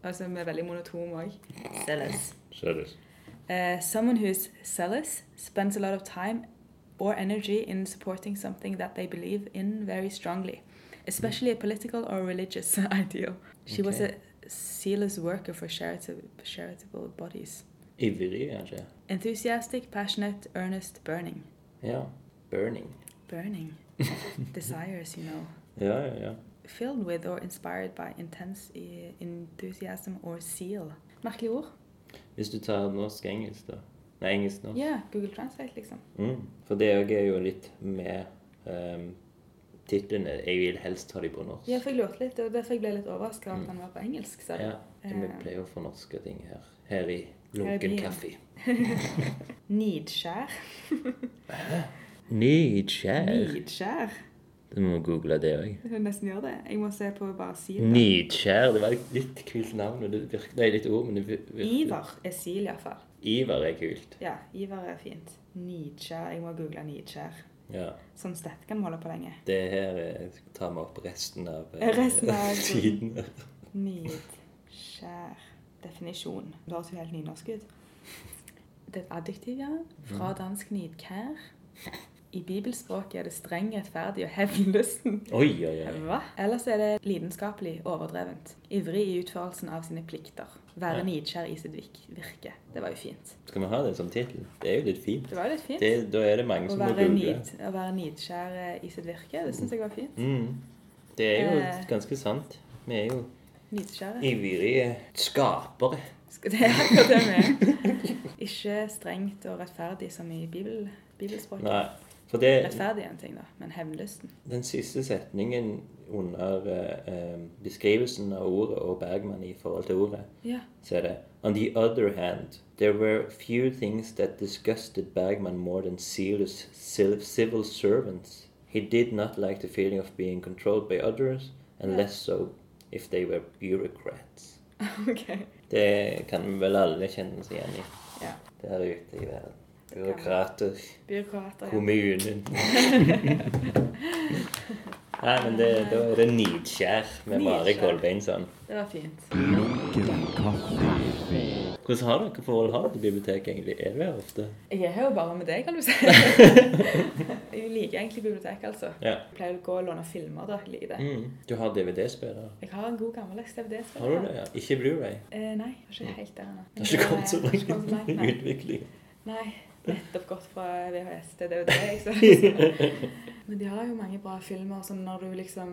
S1: Altså, vi er veldig monotone òg. Zealous.
S2: Zealous.
S1: Uh, someone who's zealous spends a lot of time or energy in supporting something that they believe in very strongly, especially a political or religious (laughs) ideal. She was a
S2: Okay.
S1: zealous worker for charitable, charitable bodies.
S2: Ivrig, kanskje.
S1: Enthusiastic, passionate, earnest, burning.
S2: Ja. Burning.
S1: Burning. (laughs) Desires, you know.
S2: Ja, ja, ja.
S1: Filled with or inspired by intense eh, enthusiasm or zeal. Merkelig ord.
S2: Hvis du tar norsk-engelsk, da. Nei, engelsk nå.
S1: Ja, Google Translate, liksom.
S2: Mm. For det òg er jo litt med um, titlene. Jeg vil helst ha de på norsk.
S1: Ja, for jeg lurte litt, og derfor jeg ble litt overraska at han var på engelsk. sa du.
S2: Ja, Vi
S1: Eh,
S2: pleier å få norske ting her. Her i
S1: Her i
S2: lunken
S1: byen. (laughs)
S2: kaffe.
S1: Nidskjær.
S2: Nidskjær.
S1: Nidskjær.
S2: Du må google det òg.
S1: Jeg vil nesten gjøre det. Jeg må se på bare Sil.
S2: Nidskjær. Det var et litt kult navn. og Det virker, nei, litt ord, men det vir- virker
S1: Ivar er Sil, iallfall.
S2: Ivar er kult.
S1: Ja, Ivar er fint. Nidskjær. Jeg må google Nidskjær.
S2: Ja.
S1: Sånn stett kan vi holde på lenge.
S2: Det her eh, tar vi opp resten av eh,
S1: Resten av
S2: (laughs)
S1: episoden.
S2: tiden.
S1: Nidskjær definisjon. Det høres jo helt nynorsk ut. Det er et adjektiv, ja. Fra dansk nidkær. I bibelspråket er det streng, rettferdig og hevnlysten.
S2: Oi, oi, oi.
S1: Hva? Ellers er det lidenskapelig overdrevent. Ivrig i utførelsen av sine plikter. Være
S2: Ja.
S1: nidkjær i sitt vik- virke. Det var jo fint.
S2: Skal vi ha det som tittel? Det er jo litt fint.
S1: Det var jo litt fint.
S2: Det, da er det mange
S1: Å
S2: som må
S1: være,
S2: google.
S1: nid, å være nidkjær eh, i sitt virke, det syns jeg var fint.
S2: Mm. Det er jo
S1: Eh.
S2: ganske sant. Vi er jo
S1: Nidkjære.
S2: ivrige skapere.
S1: Skal det (laughs) er akkurat det vi er. Ikke strengt og rettferdig som i bibel, bibelspråket.
S2: Nei. For det,
S1: Rettferdig er en ting, da, men hevnlysten.
S2: den siste setningen under eh, eh, beskrivelsen av ordet og Bergman i forhold til ordet,
S1: Ja. (laughs)
S2: så er det On the other hand, there were few things that disgusted Bergman more than zealous civ- civil servants. He did not like the feeling of being controlled by others, and
S1: Ja.
S2: less so if they were bureaucrats.
S1: OK.
S2: Det kan vi vel alle kjenne oss igjen i
S1: Ja.
S2: der ute i verden.
S1: Det kan vi.
S2: Byråkrater,
S1: Byråkrater. ja. (laughs)
S2: kommunen Nei, men det, da er det nidskjær med Mari
S1: Nidskjær.
S2: Kolbeinsson.
S1: Det var fint.
S3: Lunken kaffe.
S2: Hvordan har dere forhold har dere til biblioteket egentlig? Er dere her ofte?
S1: Jeg er her jo bare med deg, kan du
S2: (laughs)
S1: si. jeg liker egentlig bibliotek, altså.
S2: Ja.
S1: Jeg pleier å gå og låne filmer, da. Jeg liker det.
S2: Mm. Du har DVD-spiller?
S1: Jeg har en god gammeldags DVD-spiller.
S2: Har du det? ja? Ikke Blu-ray?
S1: Eh, nei, jeg er ikke helt der ennå. Eh,
S2: Det har ikke kommet så
S1: Jeg har ikke kommet
S2: langt i
S1: nei.
S2: (laughs) utvikling.
S1: Nei, nettopp gått fra VHS til
S2: (laughs)
S1: DVD. Ikke sant? Men de har jo mange bra filmer som når du liksom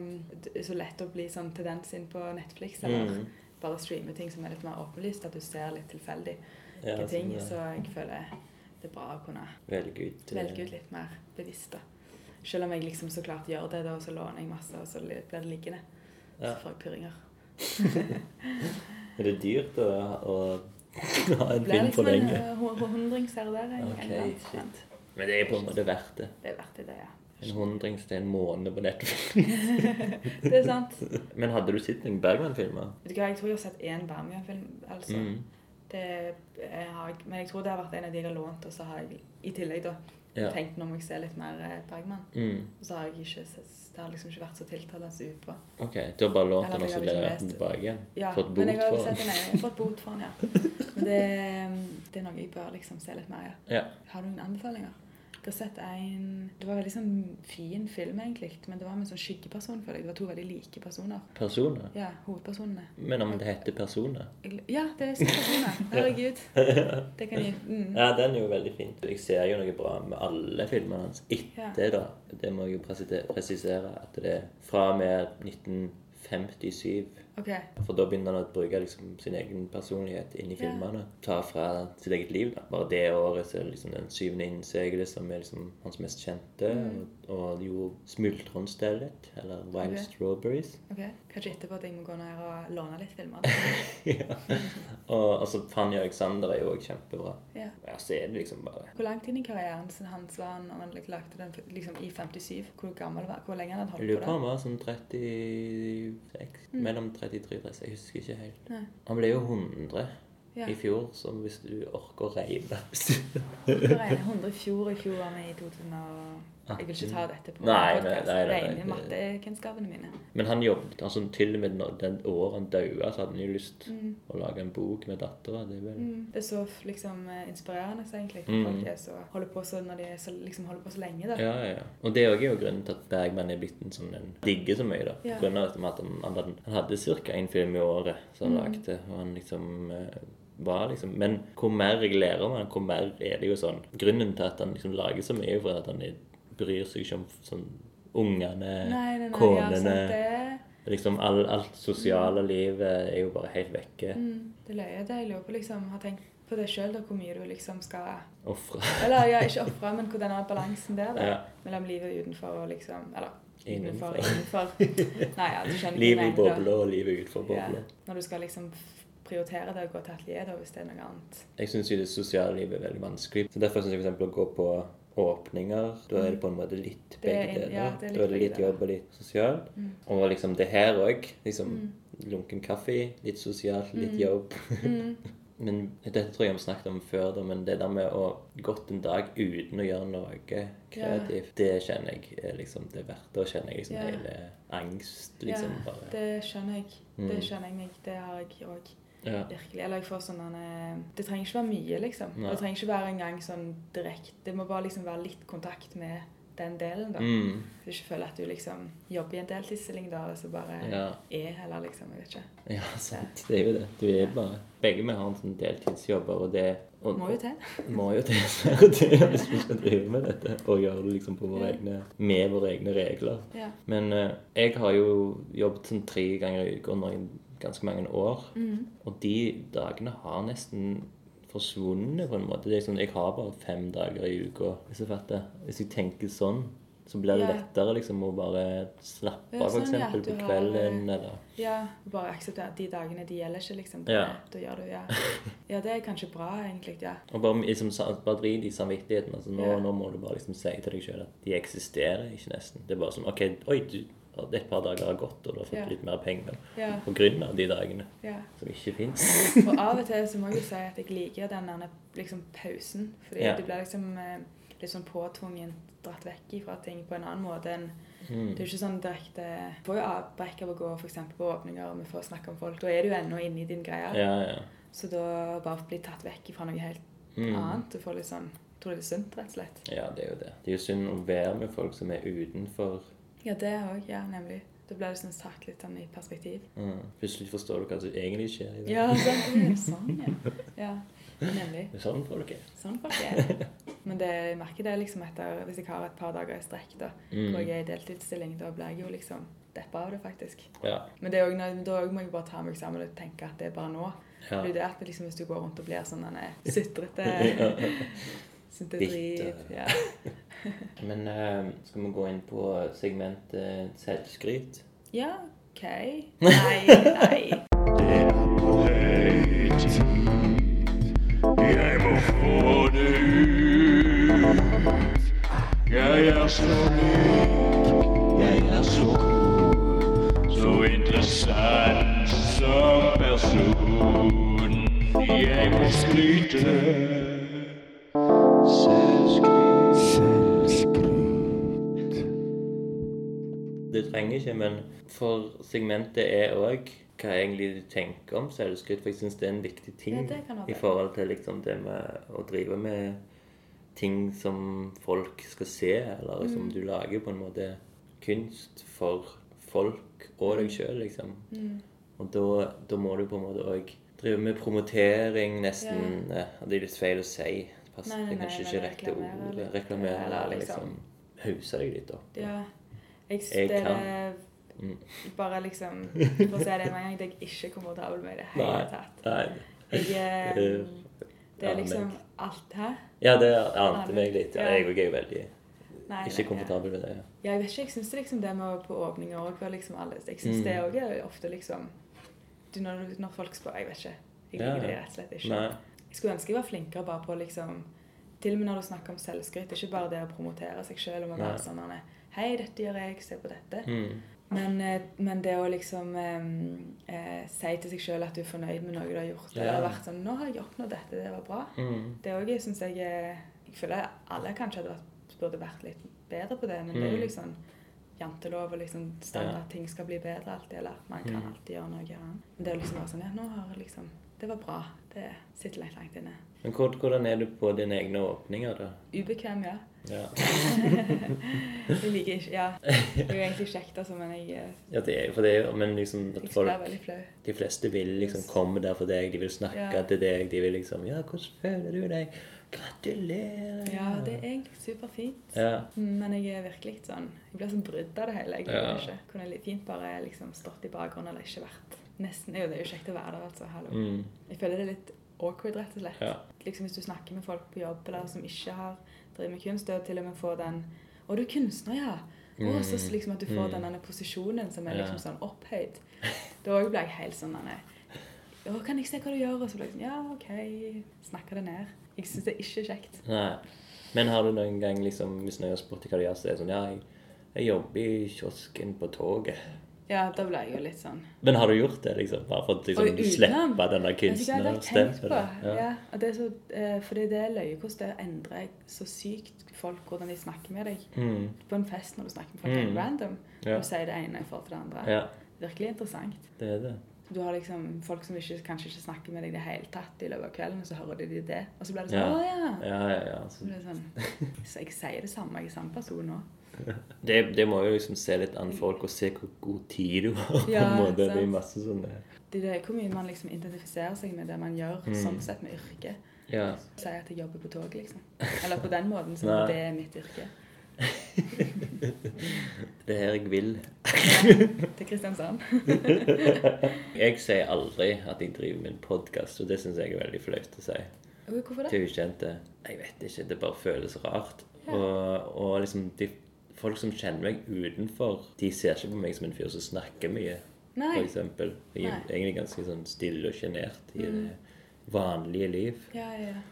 S1: det er Så lett å bli sånn tendens inn på Netflix eller
S2: Mm.
S1: bare streame ting som er litt mer åpenlyst, at du ser litt tilfeldig
S2: Ja,
S1: hvilke ting.
S2: sånn,
S1: Så
S2: ja.
S1: jeg føler det er bra å kunne
S2: Velge ut eh,
S1: velge ut litt mer bevisst, da. Selv om jeg liksom så klart gjør det, da, og så låner jeg masse, og så li- blir det liggende. Så
S2: Ja.
S1: får jeg purringer.
S2: Er det dyrt å, å (laughs) ha en
S1: Det blir
S2: film for
S1: liksom en
S2: lenge?
S1: eh, hun- hundrings her og der. en- en
S2: Ok,
S1: gang,
S2: shit.
S1: men
S2: Men det er på en måte verdt det.
S1: Det er verdt det, det, ja.
S2: En hundrings til en måned på Netflix. (laughs)
S1: Det er sant.
S2: Men hadde du sett noen Bergman-filmer?
S1: Vet du hva, Jeg tror jeg har sett én Birmingham-film. altså.
S2: Mm.
S1: Det eh, har jeg, men jeg tror det har vært en av de jeg har lånt, og så har jeg i tillegg da
S2: Ja.
S1: tenkt nå må jeg se litt mer eh, Bergman.
S2: Mm.
S1: Og så har jeg ikke sett, det har liksom ikke vært så tiltalende som utpå.
S2: Ok, du har bare lånt
S1: Eller
S2: den og
S1: jeg
S2: så
S1: hadde
S2: blir
S1: ikke
S2: jeg
S1: lest det.
S2: tilbake igjen?
S1: Ja,
S2: Fått
S1: men
S2: bot
S1: jeg har
S2: for
S1: jo sett
S2: den?
S1: den. ene. Jeg har fått bot for den, ja. Men det, det er noe jeg bør liksom se litt mer.
S2: (laughs)
S1: Ja.
S2: Ja.
S1: Har du noen anbefalinger? Jeg har sett en Det var en veldig sånn fin film, egentlig, men det var med en sånn skyggeperson, føler jeg. Det var to veldig like personer.
S2: Personer?
S1: Ja, hovedpersonene.
S2: Men om det heter personer?
S1: Jeg- Ja, det er sånne
S2: (laughs)
S1: personer. Herregud. Det kan jeg mm.
S2: Ja, den er jo veldig fin. Jeg ser jo noe bra med alle filmene hans etter, da. Det må jeg jo presite- presisere at det er fra og med 1957.
S1: OK.
S2: For da begynner han å bruke liksom sin egen personlighet inn i
S1: Ja.
S2: filmene. Ta fra sitt eget liv. da. Bare det året så er det liksom Den syvende innseglet som er liksom hans mest kjente. Og, og jo Smultronstellet, eller Wild
S1: Mm. Ok.
S2: Strawberries. (laughs)
S1: ok. Kanskje etterpå at jeg må gå ned og låne litt filmer. (laughs)
S2: ja. Og altså Fanny Alexander er jo òg kjempebra.
S1: Ja.
S2: Ja, så er det liksom bare
S1: Hvor langt inn i karrieren sin hans var han når han lagde den liksom, i 57? Hvor gammel var Hvor lenge hadde han
S2: Jeg lurer
S1: holdt
S2: på
S1: på
S2: om han var sånn 36 Mellom 33 og 36. Jeg husker ikke helt.
S1: Nei.
S2: Han ble jo 100
S1: Ja.
S2: i fjor, så hvis du orker å regne (laughs) hvis du-
S1: det? Det regner 100 i fjor, og i fjor var vi i 2000 og Jeg vil ikke ta dette på
S2: Nei, nei,
S1: podcast.
S2: nei, nei, nei.
S1: Regner mattekunnskapene mine.
S2: Men han jobbet altså til og med når den året han daua, så hadde han jo lyst å lage en bok med dattera. Det er vel
S1: Det er så liksom eh, inspirerende, så egentlig.
S2: Mm.
S1: Folk er så, holder på så når de er så, liksom, holder på så lenge, da.
S2: Ja, ja, ja. Og det er jo grunnen til at Bergman er blitt en sånn en digger så mye, da.
S1: Ja.
S2: På grunn av at han, han, hadde- han hadde ca. én film i året som
S1: Mm.
S2: han lagde, og han liksom eh, var liksom Men hvor mer jeg lærer om han, hvor mer er det jo sånn Grunnen til at han liksom lager så mye, er for at han er- bryr seg ikke om sånn ungene,
S1: Nei, nei, nei, Ja,
S2: konene
S1: sant, det,
S2: Liksom all, alt sosiale livet er jo bare helt vekke.
S1: mm, det løyer det. Jeg lurer på liksom, har tenkt på det sjøl, hvor mye du liksom skal
S2: Ofre.
S1: Eller ja, ikke ofre, men hvordan er balansen der da?
S2: Ja.
S1: mellom livet utenfor og liksom Eller
S2: Innenfor.
S1: utenfor og
S2: (laughs)
S1: innenfor. Nei, ja, du
S2: (laughs)
S1: skjønner
S2: Livet i
S1: hva jeg mener, da.
S2: bobla og livet utenfor bobla.
S1: Ja. Når du skal liksom f- prioritere det å gå til atelier, da, hvis det er noe annet.
S2: Jeg syns jo det sosiale livet er veldig vanskelig. Så Derfor syns jeg f.eks. å gå på åpninger Da er det på en måte litt
S1: Det er
S2: begge
S1: en-
S2: deler.
S1: ja, det er litt
S2: da er det
S1: begge
S2: litt
S1: deler. Mm.
S2: jobb og litt sosialt. Og
S1: Mm.
S2: liksom det her òg. Liksom lunken kaffe, litt sosialt, litt jobb. (laughs) Men dette tror jeg vi snakket om før, da, men det der med å gått en dag uten å gjøre noe kreativt, det kjenner jeg er liksom det er verdt. Da kjenner jeg liksom
S1: Ja.
S2: hele angst, liksom.
S1: ja,
S2: bare.
S1: det skjønner jeg. Det
S2: Mm.
S1: skjønner jeg meg. Det har jeg òg.
S2: Ja.
S1: Virkelig. Eller jeg får sånn eh, Det trenger ikke være mye, liksom.
S2: Nei.
S1: Det trenger ikke være engang sånn direkte. Det må bare liksom være litt kontakt med den delen, da.
S2: Mm.
S1: Så du ikke føler at du liksom jobber i en deltidsstilling da, og så bare
S2: ja.
S1: er heller, liksom. Jeg vet ikke.
S2: Ja, sant. Det er jo det. Du er bare Begge vi har en sånn deltidsjobber, og det og,
S1: Må jo
S2: (laughs)
S1: til.
S2: må jo det være det hvis vi skal drive med dette og gjøre det liksom på våre
S1: Ja.
S2: egne, med våre egne regler.
S1: Ja.
S2: Men eh, jeg har jo jobbet sånn tre ganger i uka under ganske mange år.
S1: Mhm.
S2: Og de dagene har nesten forsvunnet på en måte. Det er sånn, Jeg har bare fem dager i uka. Hvis jeg fatter. Hvis jeg tenker sånn, så blir det
S1: Ja.
S2: lettere liksom å bare slappe
S1: Ja,
S2: av,
S1: sånn,
S2: f.eks.
S1: ja, at
S2: eksempel
S1: du
S2: på
S1: har, eh,
S2: kvelden, eller
S1: ja. og Bare akseptere at de dagene, de gjelder ikke, liksom.
S2: Ja.
S1: Da gjør du
S2: (laughs)
S1: ja. ja, det er kanskje bra, egentlig. Ja.
S2: Og bare, liksom, sa- bare drit i samvittigheten. Altså, nå,
S1: Ja.
S2: nå må du bare liksom si til deg sjøl at de eksisterer ikke, nesten. Det er bare sånn OK, oi, du, et par dager har gått, og du har fått
S1: Ja.
S2: litt mer penger
S1: Ja.
S2: på grunn av de dagene
S1: ja.
S2: som ikke fins.
S1: (laughs) Og av og til så må jeg jo si at jeg liker den der liksom, pausen. Fordi
S2: Ja.
S1: du blir liksom eh, litt sånn påtvungent dratt vekk fra ting på en annen måte enn
S2: Mm.
S1: Det er jo ikke sånn direkte Du får jo avbrekk av å gå for eksempel, på åpninger, og vi får snakke om folk. Da er du jo ennå inne i din greie.
S2: Ja, ja. Mm.
S1: Så da bare bli tatt vekk fra noe helt annet. Du får litt sånn jeg Tror det er sunt, rett og slett.
S2: Ja, det er jo det. Det er jo synd å være med folk som er utenfor.
S1: Ja, det òg. Ja, nemlig. Da blir det sånn sagt litt sånn i perspektiv.
S2: Mm. Plutselig forstår du hva som egentlig skjer. i verden.
S1: Ja, sånn, sånn ja. ja. Nemlig.
S2: (laughs) Det er sånn folk er.
S1: Sånn folk
S2: (laughs)
S1: er. Men det, jeg merker det liksom etter Hvis jeg har et par dager i strekk da,
S2: Mm.
S1: hvor jeg er i deltidsstilling, da blir jeg jo liksom deppa av det, faktisk.
S2: Ja.
S1: Men det er jo når- da må jeg bare ta meg sammen og tenke at det er bare nå.
S2: Ja.
S1: Det er jo det at det liksom, hvis du går rundt og blir sånn denne
S2: (laughs)
S1: sutrete Syns det er drit.
S2: Bitter.
S1: Ja.
S2: Men eh, skal vi gå inn på segmentet selvskryt?
S1: ja,
S2: (laughs)
S1: OK. Nei, nei.
S4: Jeg må få det ut. Jeg er så unik, jeg er så cool, så interessant som person. Jeg må skryte. Selvskryt.
S3: Selvskryt.
S2: Det trenger ikke, men for segmentet er òg hva egentlig du tenker om selvskryt. For jeg syns det er en viktig ting
S1: Ja, det kan være
S2: i
S1: det.
S2: forhold til liksom det med å drive med ting som folk skal se, eller
S1: Mm.
S2: liksom du lager på en måte kunst for folk og
S1: Mm.
S2: deg sjøl, liksom. Og da, da må du på en måte òg drive med promotering, nesten. eh, Det er litt feil å si. Pass,
S1: Nei, nei,
S2: det er kanskje
S1: nei,
S2: ikke
S1: men
S2: rette
S1: reklamere
S2: ordet.
S1: litt,
S2: Reklamere,
S1: eller
S2: eller
S1: liksom-
S2: liksom hause deg litt opp.
S1: Ja. Jeg syns
S2: Jeg
S1: det
S2: kan.
S1: er
S2: Mm.
S1: bare liksom For å si det med en gang, det er jeg ikke komfortabel med i det hele tatt.
S2: Nei. (laughs)
S1: Jeg, (laughs) eh, det
S2: Ja,
S1: er
S2: men-
S1: liksom alt Hæ?
S2: Ja, det ante
S1: Aner.
S2: meg litt. Ja,
S1: Ja.
S2: jeg òg er jo veldig
S1: Nei, nei,
S2: ikke
S1: ja.
S2: komfortabel med det.
S1: Ja, jeg vet ikke. Jeg syns det, liksom, det med å på åpninger òg var liksom alles. Jeg syns
S2: Mm.
S1: det òg er ofte liksom du, når, du- når folk spør Jeg vet ikke.
S2: Ja,
S1: Jeg liker det
S2: ja.
S1: rett og slett ikke.
S2: Nei.
S1: Jeg skulle ønske jeg var flinkere bare på liksom Til og med når du snakker om selvskryt. Ikke bare det å promotere seg sjøl og
S2: Nei.
S1: være sånn nei, Hei, dette gjør jeg. Se på dette.
S2: Mm.
S1: Men, eh, men det å liksom eh, eh, si til seg sjøl at du er fornøyd med noe du har gjort, eller
S2: Ja.
S1: vært sånn 'Nå har jeg oppnådd dette. Det var bra.'
S2: Mm.
S1: Det òg syns jeg er- Jeg føler alle kanskje hadde vært, burde vært litt bedre på det, men det er jo
S2: Mm.
S1: liksom jantelov og liksom standard at ting skal bli bedre alltid, eller at man kan
S2: Mm.
S1: alltid gjøre noe annet. Men det er liksom bare sånn Ja, nå har jeg liksom Det var bra. Det sitter langt, langt inne.
S2: Men hvor- hvordan er du på dine egne åpninger, da?
S1: Ubekvem,
S2: (laughs)
S1: ja.
S2: Ja,
S1: Jeg liker ikke Ja. Det er jo egentlig kjekt, altså, men jeg, eh,
S2: ja det er, for det er, men liksom at
S1: jeg blir
S2: folk
S1: veldig flau.
S2: De fleste vil liksom komme der for deg, de vil snakke
S1: Ja.
S2: til deg, de vil liksom Ja, hvordan føler du deg? Gratulerer!
S1: Ja, det er egentlig superfint.
S2: ja.
S1: Men jeg er virkelig litt sånn Jeg blir sånn brydd av det hele. Jeg
S2: Ja.
S1: kunne ikke. Kunne litt fint bare liksom stått i bakgrunnen eller ikke vært Nesten Jo, det er jo kjekt å være der, altså. Hallo.
S2: Mm.
S1: Jeg føler det er litt awkward, rett og slett.
S2: Ja.
S1: Liksom Hvis du snakker med folk på jobb eller som ikke har driver med kunst, det å til og med få den 'Å, du er kunstner, ja.' Og så s- liksom at du får den denne posisjonen som er
S2: Mm. Ja.
S1: liksom sånn opphøyd. Da òg ble jeg helt sånn denne 'Å, kan jeg se hva du gjør?' Og så ble jeg sånn 'Ja, OK.' Snakker det ned. Jeg syns det er ikke kjekt.
S2: Nei. Men har du noen gang liksom, hvis noen har spurt deg hva du gjør, så er det sånn Ja, jeg, jeg jobber i kiosken på toget.
S1: Ja, da ble jeg jo litt sånn
S2: Men har du gjort det, liksom? Bare for å
S1: Og
S2: liksom,
S1: utenom-
S2: slippe denne
S1: Vet du hva, det har jeg tenkt på.
S2: kunstnerstempelet?
S1: Ja.
S2: Ja.
S1: og det er så, eh, fordi det er løye hvordan det endrer så sykt folk, hvordan de snakker med deg.
S2: Mm.
S1: På en fest når du snakker med folk helt
S2: Mm.
S1: random,
S2: Ja.
S1: og sier det ene i forhold til det andre.
S2: ja,
S1: Virkelig interessant.
S2: det er det.
S1: Du har liksom folk som ikke, kanskje ikke snakker med deg i det hele tatt i løpet av kvelden, og så hører de det, og så blir det sånn
S2: Ja.
S1: Å ja.
S2: Ja, ja, ja.
S1: Så
S2: Så
S1: blir det sånn, så jeg sier det samme, jeg er samme person nå.
S2: det, det må jo liksom se litt an folk og se hvor god tid du har. på
S1: Ja,
S2: en måte. Det
S1: sant.
S2: er masse sånn sånne
S1: Det er det, hvor mye man liksom identifiserer seg med det man gjør,
S2: Mm.
S1: sånn sett med yrket.
S2: Ja.
S1: Si at jeg jobber på tog, liksom. Eller på den måten, så
S2: Nei.
S1: det er mitt yrke.
S2: (laughs) Det er her jeg vil.
S1: Til
S2: (laughs)
S1: Kristiansand.
S2: Jeg sier aldri at jeg driver med en podkast, og det syns jeg er veldig flaut å si
S1: Oi, Hvorfor det?
S2: til ukjente. Jeg vet ikke, det bare føles rart.
S1: Ja.
S2: Og, og liksom de folk som kjenner meg utenfor, de ser ikke på meg som en fyr som snakker mye,
S1: Nei.
S2: for eksempel. Jeg er
S1: Nei. Mm.
S2: egentlig ganske sånn stille og sjenert i det vanlige liv.
S1: Ja, ja, ja.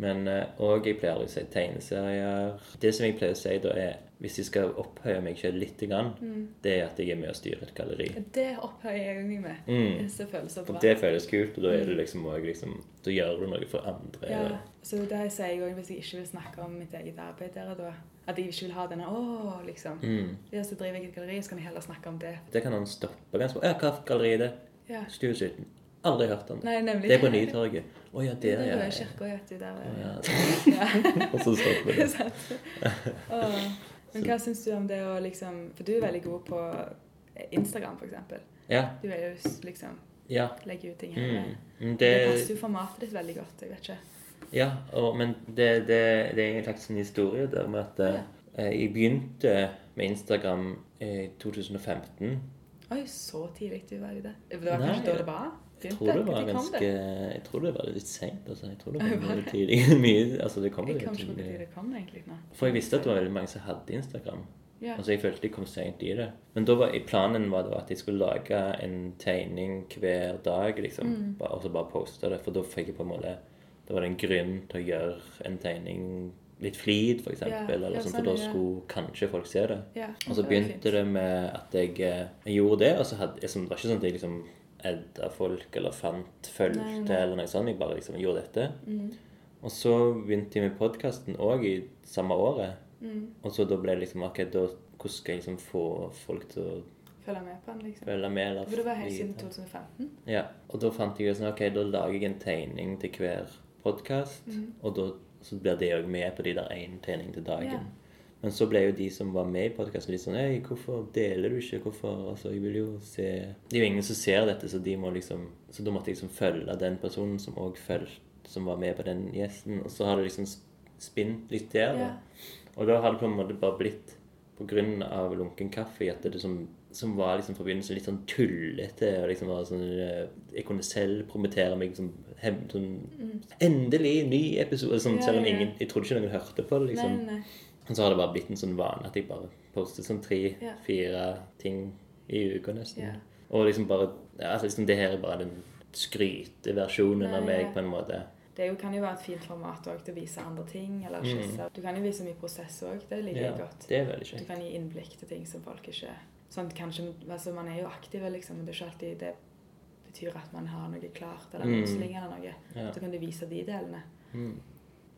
S2: Men eh, og jeg pleier å si tegneserier. Det som jeg pleier å si da, er hvis jeg skal opphøye meg selv litt, grann,
S1: Mm.
S2: det er at jeg er med og styrer et galleri.
S1: Det opphøyer jeg meg med.
S2: Mm.
S1: Disse følelser
S2: Og
S1: bra. Mm.
S2: det føles kult, og da er det liksom også liksom, Da gjør du noe for andre.
S1: Ja,
S2: eller-
S1: så det sier jeg òg hvis jeg ikke vil snakke om mitt eget arbeid der og da. At jeg ikke vil ha denne åh, liksom.
S2: Mm.
S1: Ja, så driver jeg et galleri, så kan jeg heller snakke om det.
S2: Det kan han stoppe ganske Ja, hvilket galleri er det?
S1: Ja.
S2: Stuesulten. Aldri hørt om det.
S1: Nei, nemlig.
S2: Det er på Nytorget. Å ja, der,
S1: Der
S2: ja.
S1: er kirka, vet du. Der
S2: Å,
S1: er
S2: ja. (laughs)
S1: Ja.
S2: og så stopper
S1: Ikke (laughs)
S2: det.
S1: sant? Åh. Men hva syns du om det å liksom For du er veldig god på Instagram, for eksempel.
S2: (laughs) Ja.
S1: Du er jo s- liksom
S2: ja.
S1: legger ut ting hele
S2: Mm.
S1: veien.
S2: Mm,
S1: Det
S2: Det,
S1: passer jo formatet ditt veldig godt. Jeg vet ikke.
S2: ja og, men det, det, det er en slags en historie der med at eh, jeg begynte med Instagram i 2015.
S1: Oi, så tidlig du var ute. Det var
S2: Nei,
S1: kanskje da det var?
S2: Jeg
S1: Begynte?
S2: tror det var
S1: Når kom
S2: ganske
S1: det?
S2: Jeg tror det var litt seint. Altså. Jeg tror det
S1: Var
S2: var mye
S1: det?
S2: tidlig. Mye, altså, det kom
S1: Jeg
S2: jo
S1: kan ikke på
S2: tidlig.
S1: når det kom, egentlig. nå.
S2: For jeg visste at det var veldig mange som hadde Instagram.
S1: Ja.
S2: Altså jeg følte jeg kom sent i det. Men da var, planen var da at jeg skulle lage en tegning hver dag, liksom.
S1: Mm.
S2: Bare- Og så bare poste det. For da fikk jeg på en måte Da var det en grunn til å gjøre en tegning litt flid, for eksempel.
S1: Ja,
S2: eller
S1: ja,
S2: sånn, for
S1: sånn,
S2: da
S1: ja.
S2: skulle kanskje folk se det.
S1: Ja,
S2: Og så
S1: det var fint.
S2: begynte det med at jeg, eh, jeg gjorde det, og så hadde jeg, som- Det var ikke sånn at jeg liksom edda folk eller fant,
S1: Nei,
S2: fulgte
S1: nei.
S2: eller noe sånt. Jeg bare liksom gjorde dette.
S1: Mm,
S2: Og så begynte jeg med podkasten òg i samme året.
S1: mm.
S2: Og så da ble det liksom akkurat da Hvordan skal jeg liksom få folk til å
S1: Følge med på den, liksom.
S2: følge med? Eller
S1: For det var helt
S2: vite?
S1: siden 2015.
S2: Ja, og da fant jeg ut sånn, ok, da lager jeg en tegning til hver podkast,
S1: Mhm.
S2: og da, så blir det òg med på de der én tegning til dagen.
S1: Ja.
S2: Men så ble jo de som var med i podkasten, litt sånn Hei, hvorfor deler du ikke? Hvorfor Altså, jeg vil jo se Det er jo ingen som ser dette, så de må liksom Så da måtte jeg liksom følge den personen som òg fulgte Som var med på den gjesten. Og så har det liksom sp- spint litt der, da.
S1: Ja.
S2: Og da har det på en måte bare blitt på grunn av lunken kaffe i at det som, som var liksom forbindelsen litt sånn tullete og liksom var sånn eh, Jeg kunne selv promotere meg som hem, sånn, Endelig ny episode! Sånn,
S1: Mm. Ja,
S2: selv om
S1: ja, ja.
S2: ingen Jeg trodde ikke noen hørte på det,
S1: Nei,
S2: liksom.
S1: nei, nei.
S2: Og så har det bare blitt en sånn vane at jeg bare poster sånn
S1: Ja.
S2: tre-fire ting i uka nesten.
S1: Ja.
S2: Og liksom bare ja, altså liksom Det her er bare den skryteversjonen av
S1: Nei,
S2: meg,
S1: ja.
S2: på en måte.
S1: Det er jo, kan jo være et fint format også, til å vise andre ting eller skisser. Du kan jo vise mye prosess òg. Det liker
S2: Mm. Ja,
S1: jeg godt.
S2: det er veldig
S1: Du
S2: kjekt.
S1: kan gi innblikk til ting som folk ikke sånn, kanskje, altså Man er jo aktiv, liksom, men det er ikke alltid det betyr at man har noe klart eller
S2: Mm.
S1: mm. eller noe.
S2: Ja.
S1: Så kan du vise de delene.
S2: Mm.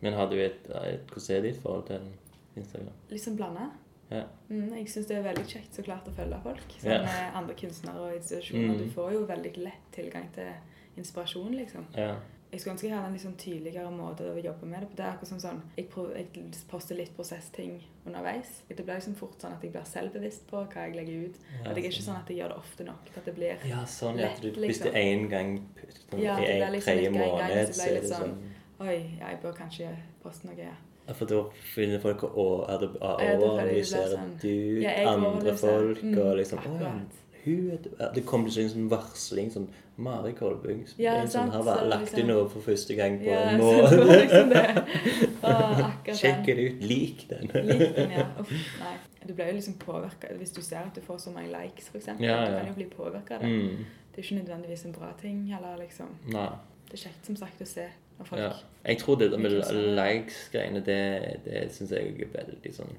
S2: Men har du et, et Hvordan er ditt forhold til Instagram?
S1: Litt sånn blanda.
S2: Ja.
S1: Mm, jeg syns det er veldig kjekt så klart å følge folk. Sånn
S2: Ja.
S1: eh, Andre kunstnere og institusjoner.
S2: Mm.
S1: Du får jo veldig lett tilgang til inspirasjon, liksom.
S2: ja.
S1: Jeg skulle ønske jeg hadde en litt sånn tydeligere måte å jobbe med det på. Det er akkurat som sånn, jeg, prøv, jeg poster litt prosessting underveis. Det blir liksom fort sånn at jeg blir selvbevisst på hva jeg legger ut.
S2: Ja,
S1: at jeg er
S2: sånn.
S1: ikke sånn at jeg gjør det ofte nok til at det blir
S2: Ja, sånn ja, at du,
S1: Lett,
S2: Hvis
S1: liksom.
S2: du én gang sånn,
S1: Ja,
S2: i
S1: det blir
S2: en
S1: liksom
S2: tredje
S1: ikke en gang,
S2: måned, så
S1: så blir
S2: er
S1: det
S2: det
S1: sånn,
S2: sånn
S1: Oi, ja, jeg bør kanskje poste noe.
S2: (laughs)
S1: Ja.
S2: ja, For da finner folk å
S1: Ja, da føler jeg det blir
S2: overanalyserer
S1: sånn.
S2: du
S1: Ja, jeg
S2: andre
S1: overanalyserer.
S2: folk
S1: Mm,
S2: og liksom å, ja,
S1: akkurat.
S2: hun er død. Ja, Det kom til en sånn varsling sånn Mari Kolbung som
S1: Ja,
S2: en som
S1: sant,
S2: har
S1: så
S2: vært-
S1: det er
S2: lagt
S1: liksom-
S2: inn noe for første gang på
S1: Ja,
S2: en
S1: så det var
S2: måned.
S1: liksom
S2: (laughs)
S1: det. Å, akkurat
S2: Sjekk
S1: den.
S2: det ut. Lik den.
S1: Lik den, ja. Uff, nei. Du blir jo liksom påvirka hvis du ser at du får så mange likes, f.eks.
S2: Ja,
S1: Du
S2: ja.
S1: kan jo bli påvirka av
S2: (laughs)
S1: det.
S2: Mm,
S1: Det er jo ikke nødvendigvis en bra ting. Eller liksom
S2: nei.
S1: Det er kjekt, som sagt, å se når folk
S2: Ja. Jeg tror det der med
S1: Ikke sant?
S2: likes-greiene, det, det syns jeg er veldig sånn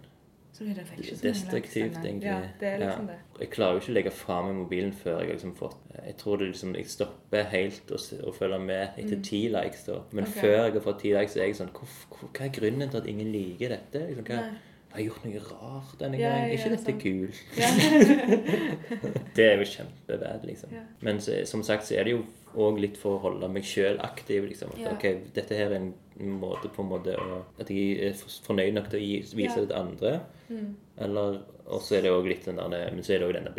S1: Så det fikk ikke så mye
S2: Destruktivt,
S1: langsende.
S2: egentlig.
S1: Ja, det er liksom
S2: Ja.
S1: det.
S2: Jeg klarer jo ikke å legge fra meg mobilen før jeg har liksom fått Jeg tror det liksom, jeg stopper helt og, s- og følger med etter ti likes. da. Men
S1: Mm. Ok.
S2: før jeg har fått ti likes, så er jeg sånn hvorf- hvor, Hva er grunnen til at ingen liker dette? Liksom, hva,
S1: Nei.
S2: har jeg gjort noe rart denne
S1: Ja,
S2: gangen?
S1: ja,
S2: ikke
S1: ja,
S2: dette
S1: sant.
S2: kult?
S1: (laughs) Ja.
S2: (laughs) Det er jo kjempebad, liksom.
S1: Ja.
S2: Men så, som sagt så er det jo òg litt for å holde meg sjøl aktiv. liksom. At,
S1: Ja.
S2: ok, Dette her er en måte på en måte å, At jeg er f- fornøyd nok til å gi, vise
S1: Ja.
S2: det til andre.
S1: Mm.
S2: Eller, og så er det òg litt den der, men så er det også denne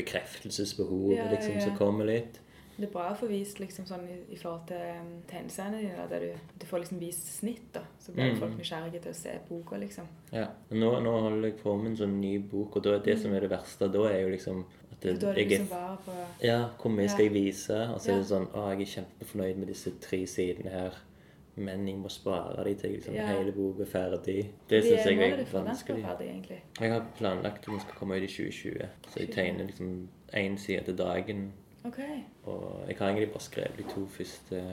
S2: bekreftelsesbehovet
S1: Ja, ja,
S2: liksom,
S1: ja.
S2: som kommer litt.
S1: Det er bra å få vist liksom sånn i, i forhold til um, tegneseriene dine, da, der du, du får liksom vist snitt, da. Så blir
S2: Mm.
S1: jo folk nysgjerrige til å se boka, liksom.
S2: Ja. Nå, nå holder jeg på med en sånn ny bok, og da, det som er det verste da, er jo liksom at det,
S1: Mm. For da er det
S2: jeg er
S1: liksom bare på
S2: Ja, hvor mye skal
S1: Ja.
S2: jeg vise? Og så er det
S1: Ja.
S2: sånn Å, jeg er kjempefornøyd med disse tre sidene her, men jeg må spare de til liksom,
S1: Ja.
S2: hele boka er ferdig. Det syns jeg er vanskelig.
S1: Ferdig, egentlig.
S2: Jeg har planlagt at den skal komme ut i 2020, så jeg
S1: 2020.
S2: tegner liksom én side til dagen.
S1: Ok.
S2: Og jeg har egentlig bare skrevet de to første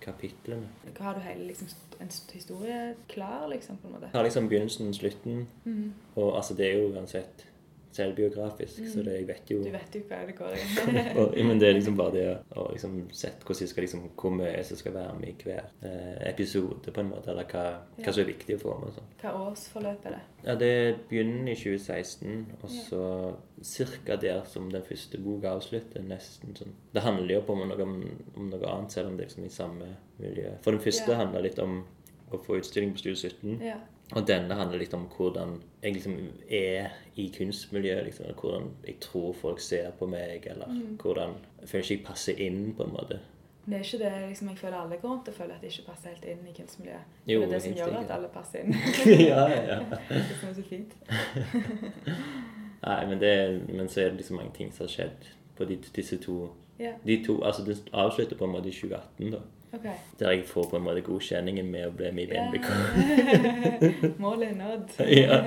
S2: kapitlene.
S1: Hva har du hele liksom, st- en st- historie klar, liksom, på en
S2: Jeg
S1: måte?
S2: har liksom begynnelsen og slutten,
S1: Mm.
S2: og altså det er jo uansett selvbiografisk, så det, jeg vet jo
S1: Mm. Du vet jo hva det går
S2: (laughs)
S1: i.
S2: og, Men det er liksom bare det å- å liksom sett hvordan jeg skal liksom, hvor mye som skal være med i hver eh, episode, på en måte, eller hva, hva som er viktig å få med. og sånn.
S1: Hva årsforløp er det?
S2: Ja, Det begynner i 2016, og så ca. der som den første boka avslutter. nesten sånn. Det handler jo på om noe, om noe annet, selv om det er liksom i samme miljø. For den første
S1: Ja.
S2: handler litt om å få utstilling på Studio 17.
S1: Ja.
S2: Og denne handler litt om hvordan jeg liksom er i kunstmiljøet. liksom, og Hvordan jeg tror folk ser på meg, eller hvordan Jeg føler ikke jeg passer inn, på en måte.
S1: Det er ikke det liksom, jeg føler alle går rundt og føler at de ikke passer helt inn i kunstmiljøet.
S2: Jo,
S1: det er det som
S2: helt
S1: gjør
S2: sikkert.
S1: at alle passer inn.
S2: (laughs)
S1: (laughs)
S2: ja, ja.
S1: det som er så fint. (laughs)
S2: Nei, men, det, men så er det liksom mange ting som har skjedd på de, disse to
S1: Ja,
S2: De to, altså Det avslutter på en måte i 2018, da.
S1: ok.
S2: Der jeg får på en måte godkjenningen med å bli med i NBK.
S1: Målet er nådd.
S2: (laughs) ja.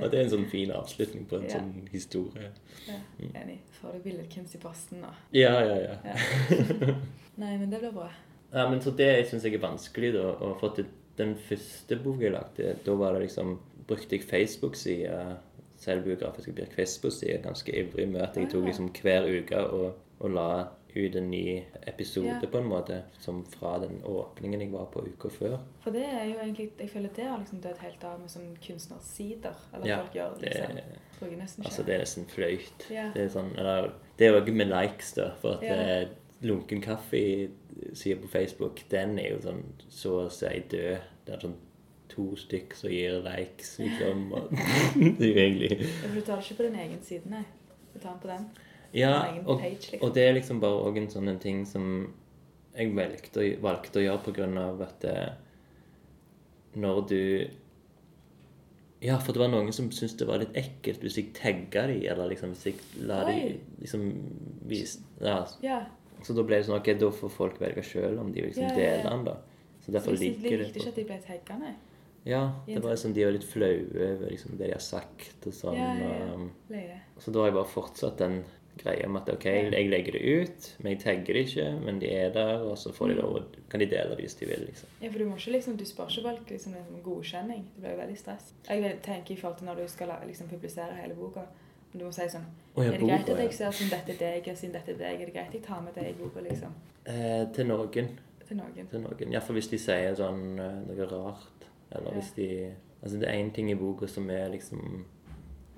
S2: Og det er en sånn fin avslutning på en
S1: Ja.
S2: sånn historie.
S1: Ja, enig. Får du billedkunst i posten nå?
S2: Ja, ja, ja.
S1: Ja. Nei, men det blir bra.
S2: Ja, men så det syns jeg er vanskelig, da. Å få til den første boka jeg lagde, da var det liksom Brukte jeg Facebook-sida, selvbiografiske Birk Facebook-sida, ganske ivrig med at jeg tok
S1: Ah.
S2: liksom hver uke og, og la ut en ny episode,
S1: Ja.
S2: på en måte, som fra den åpningen jeg var på uka før.
S1: For det er jo egentlig Jeg føler det har liksom dødd helt av med sånn kunstnersider. Eller
S2: Ja,
S1: folk gjør
S2: det-
S1: liksom Tror jeg nesten ikke.
S2: Altså, det er nesten flaut.
S1: Ja.
S2: Det er sånn Eller det er jo ikke med likes, da, for at
S1: Ja.
S2: eh, lunken kaffe-sida på Facebook, den er jo sånn så å si død. Det er sånn to stykk som gir likes, liksom. Og (laughs) det er jo egentlig
S1: Ja, For du tar det ikke på din egen side, nei. Du tar den på den.
S2: Ja,
S1: Din egen
S2: og,
S1: page, liksom.
S2: og det er liksom bare òg en sånn en ting som jeg valgte, å- valgte å gjøre på grunn av at eh, når du Ja, for det var noen som syntes det var litt ekkelt hvis jeg tagga de, eller liksom hvis jeg la de
S1: Oi.
S2: liksom vise ja,
S1: Ja.
S2: Så da ble det sånn Ok, da får folk velge sjøl om de vil liksom
S1: Ja, ja, ja.
S2: dele den, da. Så
S1: Så
S2: derfor
S1: de de
S2: ligger det
S1: likte ikke
S2: på
S1: at de ble tagga, nei.
S2: Ja, det var liksom de var litt flaue over liksom det de har sagt og sånn.
S1: Ja, ja,
S2: og,
S1: ja.
S2: um,
S1: Leie.
S2: så da har jeg bare fortsatt den greia med at ok, jeg legger det ut, men jeg tagger det ikke, men de er der, og så får de lov, å-
S1: Mm.
S2: kan de dele det hvis de vil, liksom.
S1: Ja, for du må ikke liksom, du spør ikke folk liksom, liksom godkjenning. Det blir jo veldig stress. Jeg vil- tenker i forhold til når du skal la- liksom, publisere hele boka. men Du må si sånn
S2: Å, ja,
S1: Er det
S2: boka,
S1: greit at jeg
S2: ja.
S1: ser som dette er deg, og siden dette er deg, er det greit jeg tar med deg i boka, liksom?
S2: Eh, til noen.
S1: Til noen.
S2: Til noen. Ja, for hvis de sier sånn eh, noe rart, eller
S1: Ja.
S2: hvis de Altså, det er én ting i boka som er liksom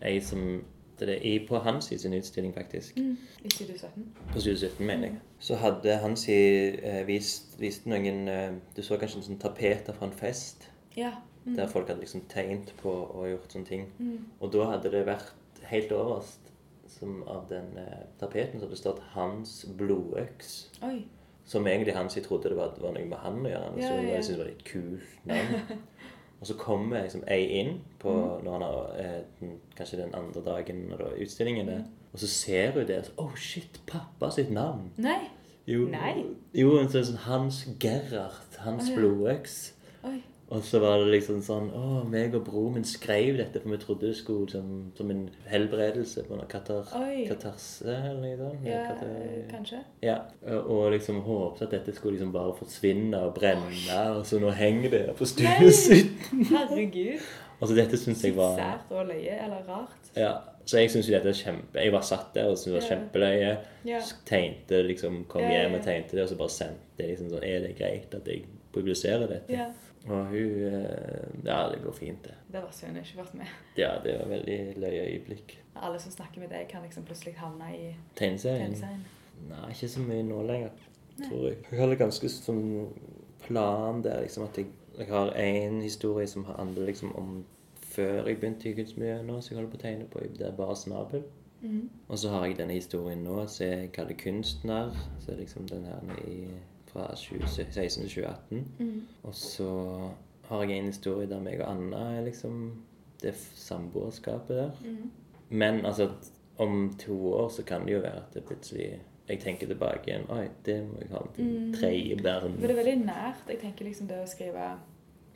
S2: Ei som Det er i, på hans i sin utstilling, faktisk.
S1: Mm. I 2017.
S2: På 2017, mener jeg. Så hadde han si eh, vist, vist noen eh, Du så kanskje en sånn tapeter fra en fest?
S1: Ja. Mm.
S2: Der folk hadde liksom tegnet på og gjort sånne ting.
S1: Mm.
S2: Og da hadde det vært helt overst som av den eh, tapeten så hadde det stått 'Hans blodøks'.
S1: Oi.
S2: Som egentlig han som trodde det var, det var noe med han å gjøre.
S1: Ja,
S2: så
S1: ja, ja.
S2: jeg syntes det var litt kult
S1: (laughs)
S2: navn. og så kommer liksom ei inn på
S1: Mm.
S2: når han har, eh, den, kanskje den andre dagen når det var utstillingen
S1: Mm.
S2: der. Og så ser hun det. og så, Oh shit, pappa sitt navn!
S1: Nei.
S2: Jo,
S1: Nei.
S2: jo en sånn sånn Hans Gerhard. Hans
S1: Å, ja.
S2: blodøks.
S1: Oi.
S2: Og så var det liksom sånn Å, meg og broren min skrev dette, for vi trodde det skulle som, som en helbredelse på noe katar,
S1: Oi.
S2: katarse eller noe sånt.
S1: Ja,
S2: Katar-
S1: kanskje.
S2: ja. Og og liksom håpet at dette skulle liksom bare forsvinne og brenne, og så nå henger det her på stuen
S1: Nei.
S2: sitt.
S1: Herregud.
S2: Altså, dette syns jeg var
S1: Sært og løye, eller rart.
S2: ja, Så jeg syns jo dette er kjempe Jeg var satt der og syntes det var
S1: Ja.
S2: kjempeløye.
S1: Ja.
S2: Så Tegnte liksom Kom
S1: Ja, ja,
S2: hjem
S1: ja.
S2: og tegnte det, og så bare sendte jeg liksom sånn Er det greit at jeg publiserer dette?
S1: ja.
S2: Og hun eh, Ja, det går fint, det.
S1: Det var synd jeg ikke vært med.
S2: Ja, det var veldig løye øyeblikk.
S1: Alle som snakker med deg, kan liksom plutselig havne i
S2: Tegneserien?
S1: tegneserien.
S2: Nei, ikke så mye nå lenger, tror jeg. Jeg har det ganske sånn plan der, liksom at jeg, jeg har én historie som handler liksom om før jeg begynte i kunstmiljøet nå, som jeg holder på å tegne på. Det er bare snabel.
S1: Mhm.
S2: Og så har jeg denne historien nå som jeg kaller Kunstner. Så liksom den her nå i, fra 2016 til 2018.
S1: Mhm.
S2: Og så har jeg en historie der meg og Anna er liksom det f- samboerskapet der.
S1: Mhm.
S2: Men altså, at om to år så kan det jo være at det plutselig jeg tenker tilbake igjen Oi, det må jeg ha med til
S1: Mm.
S2: tredje barn.
S1: Men det er veldig nært. Jeg tenker liksom det å skrive,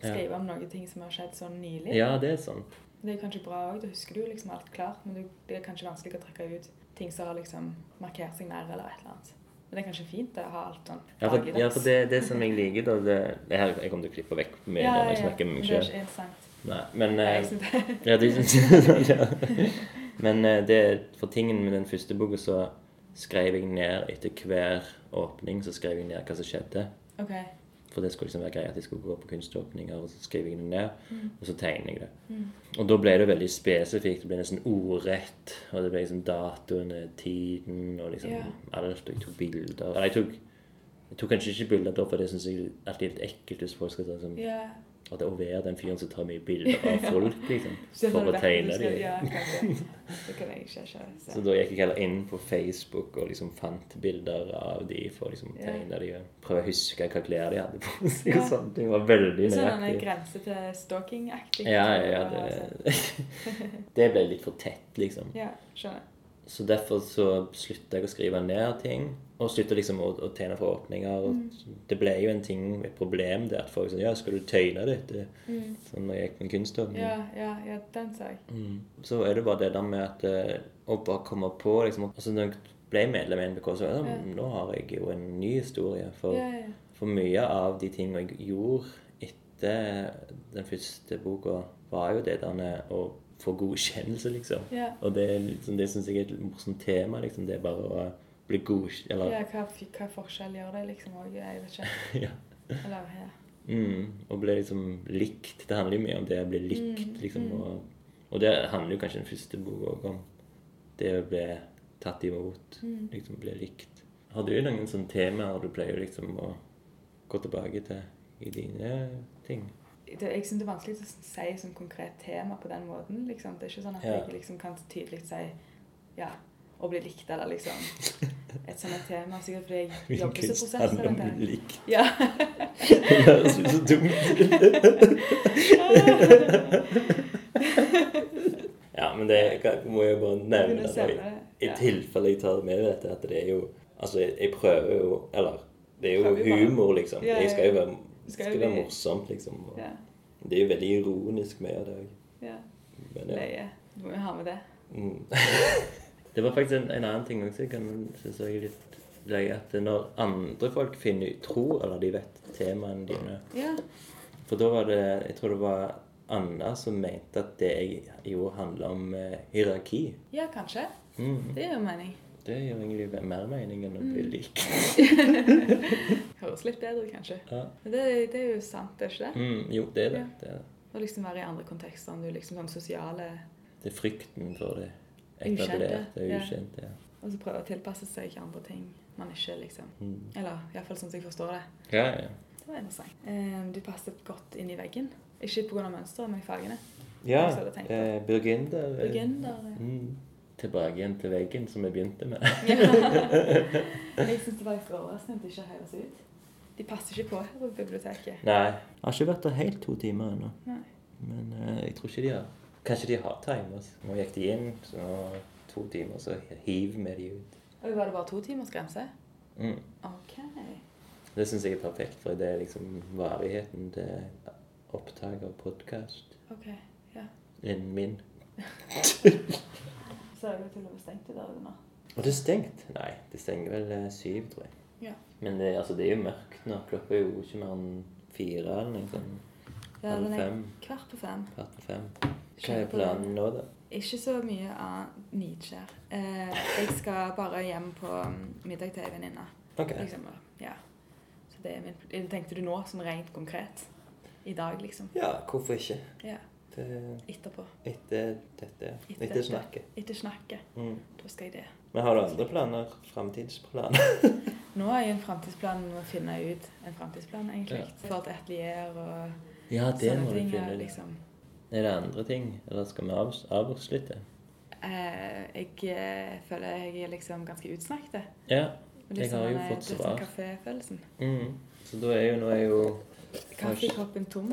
S2: Ja.
S1: skrive om noen ting som har skjedd sånn nylig.
S2: Ja, det er sant.
S1: Det er kanskje bra òg, da husker du jo liksom alt klart, men du- det er kanskje vanskelig å trekke ut ting som har liksom markert seg mer, eller et eller annet. Men det er kanskje fint det, å ha alt sånn
S2: Ja, for, ja, for
S1: dagligdags.
S2: det, det som jeg liker, da det, det her, Jeg kommer til å klippe vekk mye
S1: Ja,
S2: når jeg
S1: ja, ja.
S2: snakker med meg
S1: Det er
S2: sjøl.
S1: ikke interessant.
S2: Nei, men
S1: Nei,
S2: eh,
S1: jeg synes det.
S2: Ja, du
S1: (laughs)
S2: syns (laughs) ja. Men eh, det, for tingen med den første boka, så skrev jeg ned etter hver åpning så skrev jeg ned hva som skjedde.
S1: OK.
S2: For det skulle liksom være greit at jeg skulle gå på kunståpninger, og så skriver jeg det ned, og så tegner jeg det.
S1: Mm.
S2: Og da ble det veldig spesifikt. Det ble nesten ordrett. Og det ble liksom datoene, tiden og liksom
S1: Ja.
S2: alt. Og jeg tok bilder. Eller jeg tok, jeg tok kanskje ikke bilder da, for det syns jeg alltid er litt ekkelt hvis folk skal ta sånn
S1: Ja.
S2: At det å være den fyren som tar mye bilder
S1: (laughs)
S2: av folk, liksom.
S1: Så
S2: for å
S1: når du vet at du
S2: tegne
S1: skal-
S2: dem.
S1: Ja,
S2: (laughs)
S1: kanskje. Det kan jeg ikke ikke
S2: Så
S1: se.
S2: da gikk jeg heller inn på Facebook og liksom fant bilder av de for å liksom
S1: Ja.
S2: tegne de og prøve å huske hva klær de hadde
S1: (laughs)
S2: på seg.
S1: Ja.
S2: og sånne ting. Det var veldig
S1: Sånn en
S2: nøyaktig.
S1: grense til stalking-aktig.
S2: Ja, ja, ja,
S1: og sånn.
S2: det, (laughs) det ble litt for tett, liksom.
S1: Ja, skjønner.
S2: Så derfor så slutta jeg å skrive ned ting. Og slutta liksom å, å tegne for åpninger.
S1: Mm.
S2: Og Det ble jo en ting, et problem der at folk sa ja, skal du tegne dette?
S1: Mm.
S2: Sånn når jeg gikk med kunståpning.
S1: Ja, ja, ja, den sa jeg.
S2: Mm. Så er det bare det der med at eh, å bare komme på liksom, altså Når jeg ble medlem i NBK, så var det, sånn,
S1: Ja.
S2: nå har jeg jo en ny historie.
S1: Ja,
S2: For,
S1: ja.
S2: for mye av de tingene jeg gjorde etter den første boka, var jo det der med å få godkjennelse, liksom.
S1: ja.
S2: Og det, er litt sånn- det syns jeg er et morsomt tema. liksom, Det er bare å bli godkjent Eller
S1: ja hva, f- hva forskjell gjør det liksom òg? Jeg vet ikke.
S2: (laughs) ja.
S1: Eller, ja.
S2: mm, Å bli liksom likt. Det handler jo mye om det å bli likt,
S1: Mm,
S2: liksom.
S1: mm.
S2: Og, og det handler jo kanskje den første boka òg om. Det å bli tatt imot,
S1: Mm.
S2: liksom bli likt. Har du noen sånne temaer du pleier liksom å gå tilbake til i dine ting?
S1: det, jeg synes det er vanskelig å si som konkret tema på den måten. Liksom. Det er ikke sånn at
S2: Ja.
S1: jeg liksom kan tydelig si ja, å bli likt eller liksom et sånt tema.
S2: (laughs)
S1: Sikkert fordi jeg jobber som prosessor.
S2: handler om å
S1: vet jeg.
S2: bli likt. (laughs)
S1: Ja.
S2: Det høres ut så
S1: (laughs)
S2: dumt ut. Ja, men det kan- må jeg bare nevne.
S1: Kunne
S2: da,
S1: sende
S2: i-
S1: det,
S2: I
S1: ja.
S2: tilfelle jeg tar med dette, at det er jo Altså, jeg jeg prøver jo Eller det er jo
S1: Prøver jo bare.
S2: humor, liksom.
S1: Ja, ja,
S2: Det skal jo være,
S1: Skal
S2: skal
S1: jo
S2: være
S1: bli-
S2: morsomt, liksom. Og
S1: ja,
S2: Det er jo veldig ironisk med det òg.
S1: ja.
S2: Men ja.
S1: Leie. Du må jo ha med det.
S2: Mm. (laughs) det var faktisk en, en annen ting også jeg kan synes jeg er litt løye. At når andre folk finner, tror eller de vet temaene dine
S1: Ja.
S2: For da var det Jeg tror det var Anna som mente at det jeg gjorde, handla om eh, hierarki.
S1: ja, kanskje.
S2: Mm.
S1: Det gjør mening.
S2: Det gjør egentlig mer mening enn å bli
S1: Mm.
S2: lik.
S1: (laughs) Høres litt bedre ut, kanskje.
S2: Ja.
S1: Men det, det er jo sant, det er ikke det?
S2: Mm, jo, det er det.
S1: Ja.
S2: det er det.
S1: Å liksom være i andre kontekster enn du liksom sånn sosiale
S2: Det er frykten for det
S1: Ukjente,
S2: etablerte,
S1: ja.
S2: ukjente. Ja.
S1: Og så prøve å tilpasse seg ikke andre ting man ikke liksom
S2: Mm.
S1: Eller iallfall sånn som jeg forstår det.
S2: ja, ja.
S1: Det var interessant. Eh, Du passet godt inn i veggen. Ikke pga. mønsteret, men i fargene.
S2: ja
S1: Jeg så det tenkte.
S2: eh, burgunder. eh,
S1: Burgunder.
S2: Mm. Tilbake igjen til veggen som vi begynte
S1: (laughs)
S2: med.
S1: Jeg syns det var litt overraskende at det ikke høres ut. De passer ikke på her på biblioteket.
S2: Nei. Jeg har ikke vært der helt to timer ennå.
S1: Nei.
S2: Men eh, jeg tror ikke de har Kanskje de har timers. Nå gikk de inn, så nå to timer, så hiv vi de ut.
S1: Oi, var det bare to timers grense?
S2: Mm.
S1: OK.
S2: Det syns jeg er perfekt, for det er liksom varigheten til opptak av podkast.
S1: ok, ja.
S2: Innen
S1: (laughs)
S2: min. (laughs)
S1: Så er det jo til og med stengt i dag nå.
S2: Og det er stengt? Nei, det stenger vel eh, syv, tror jeg.
S1: Ja.
S2: Men det, altså, det er jo mørkt nå. Klokka er jo ikke mer enn fire eller noe sånt.
S1: Ja, den er
S2: fem.
S1: kvart på fem.
S2: Kvart på fem. Hva er planen nå, da?
S1: Ikke så mye av nidskjær. Eh, jeg skal bare hjem på mm, middag til ei venninne.
S2: Ok.
S1: for eksempel. Ja. Så det er min pl- Tenkte du nå, sånn rent konkret? I dag, liksom?
S2: Ja, hvorfor ikke?
S1: Ja.
S2: Det,
S1: Etterpå.
S2: etter dette. Etter snakket.
S1: Etter snakket.
S2: Mm.
S1: Da skal jeg det.
S2: Men har du andre planer? Framtidsplaner?
S1: Nå er jo en framtidsplan å finne ut en framtidsplan, egentlig. For et atelier og
S2: (laughs) ja, det
S1: sånne
S2: må du
S1: ting.
S2: finne
S1: ja,
S2: ut.
S1: liksom.
S2: Er det andre ting? Eller skal vi av, avslutte?
S1: Eh, jeg eh, føler jeg er liksom ganske utsnakket.
S2: Ja.
S1: Men
S2: Jeg
S1: liksom,
S2: har jo
S1: den er-
S2: fått
S1: det er
S2: svar.
S1: sånn Kaféfølelsen.
S2: Mm. Så da er jo nå er jo
S1: Kaffekoppen tom.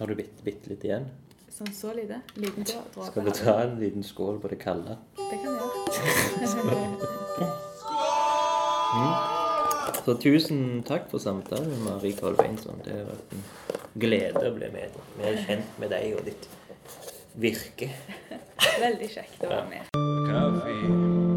S2: Har du bitte, bitte litt igjen?
S1: Sånn så lite. Liten drå- dråpe.
S2: Skal vi ta en liten skål på det kalde?
S1: Det kan (laughs) vi gjøre.
S2: Så tusen takk for samtalen, Marie Kolbeinsson. Det har vært en glede å bli med. Mer kjent med deg og ditt virke.
S1: Veldig kjekt å være med.
S4: Kaffe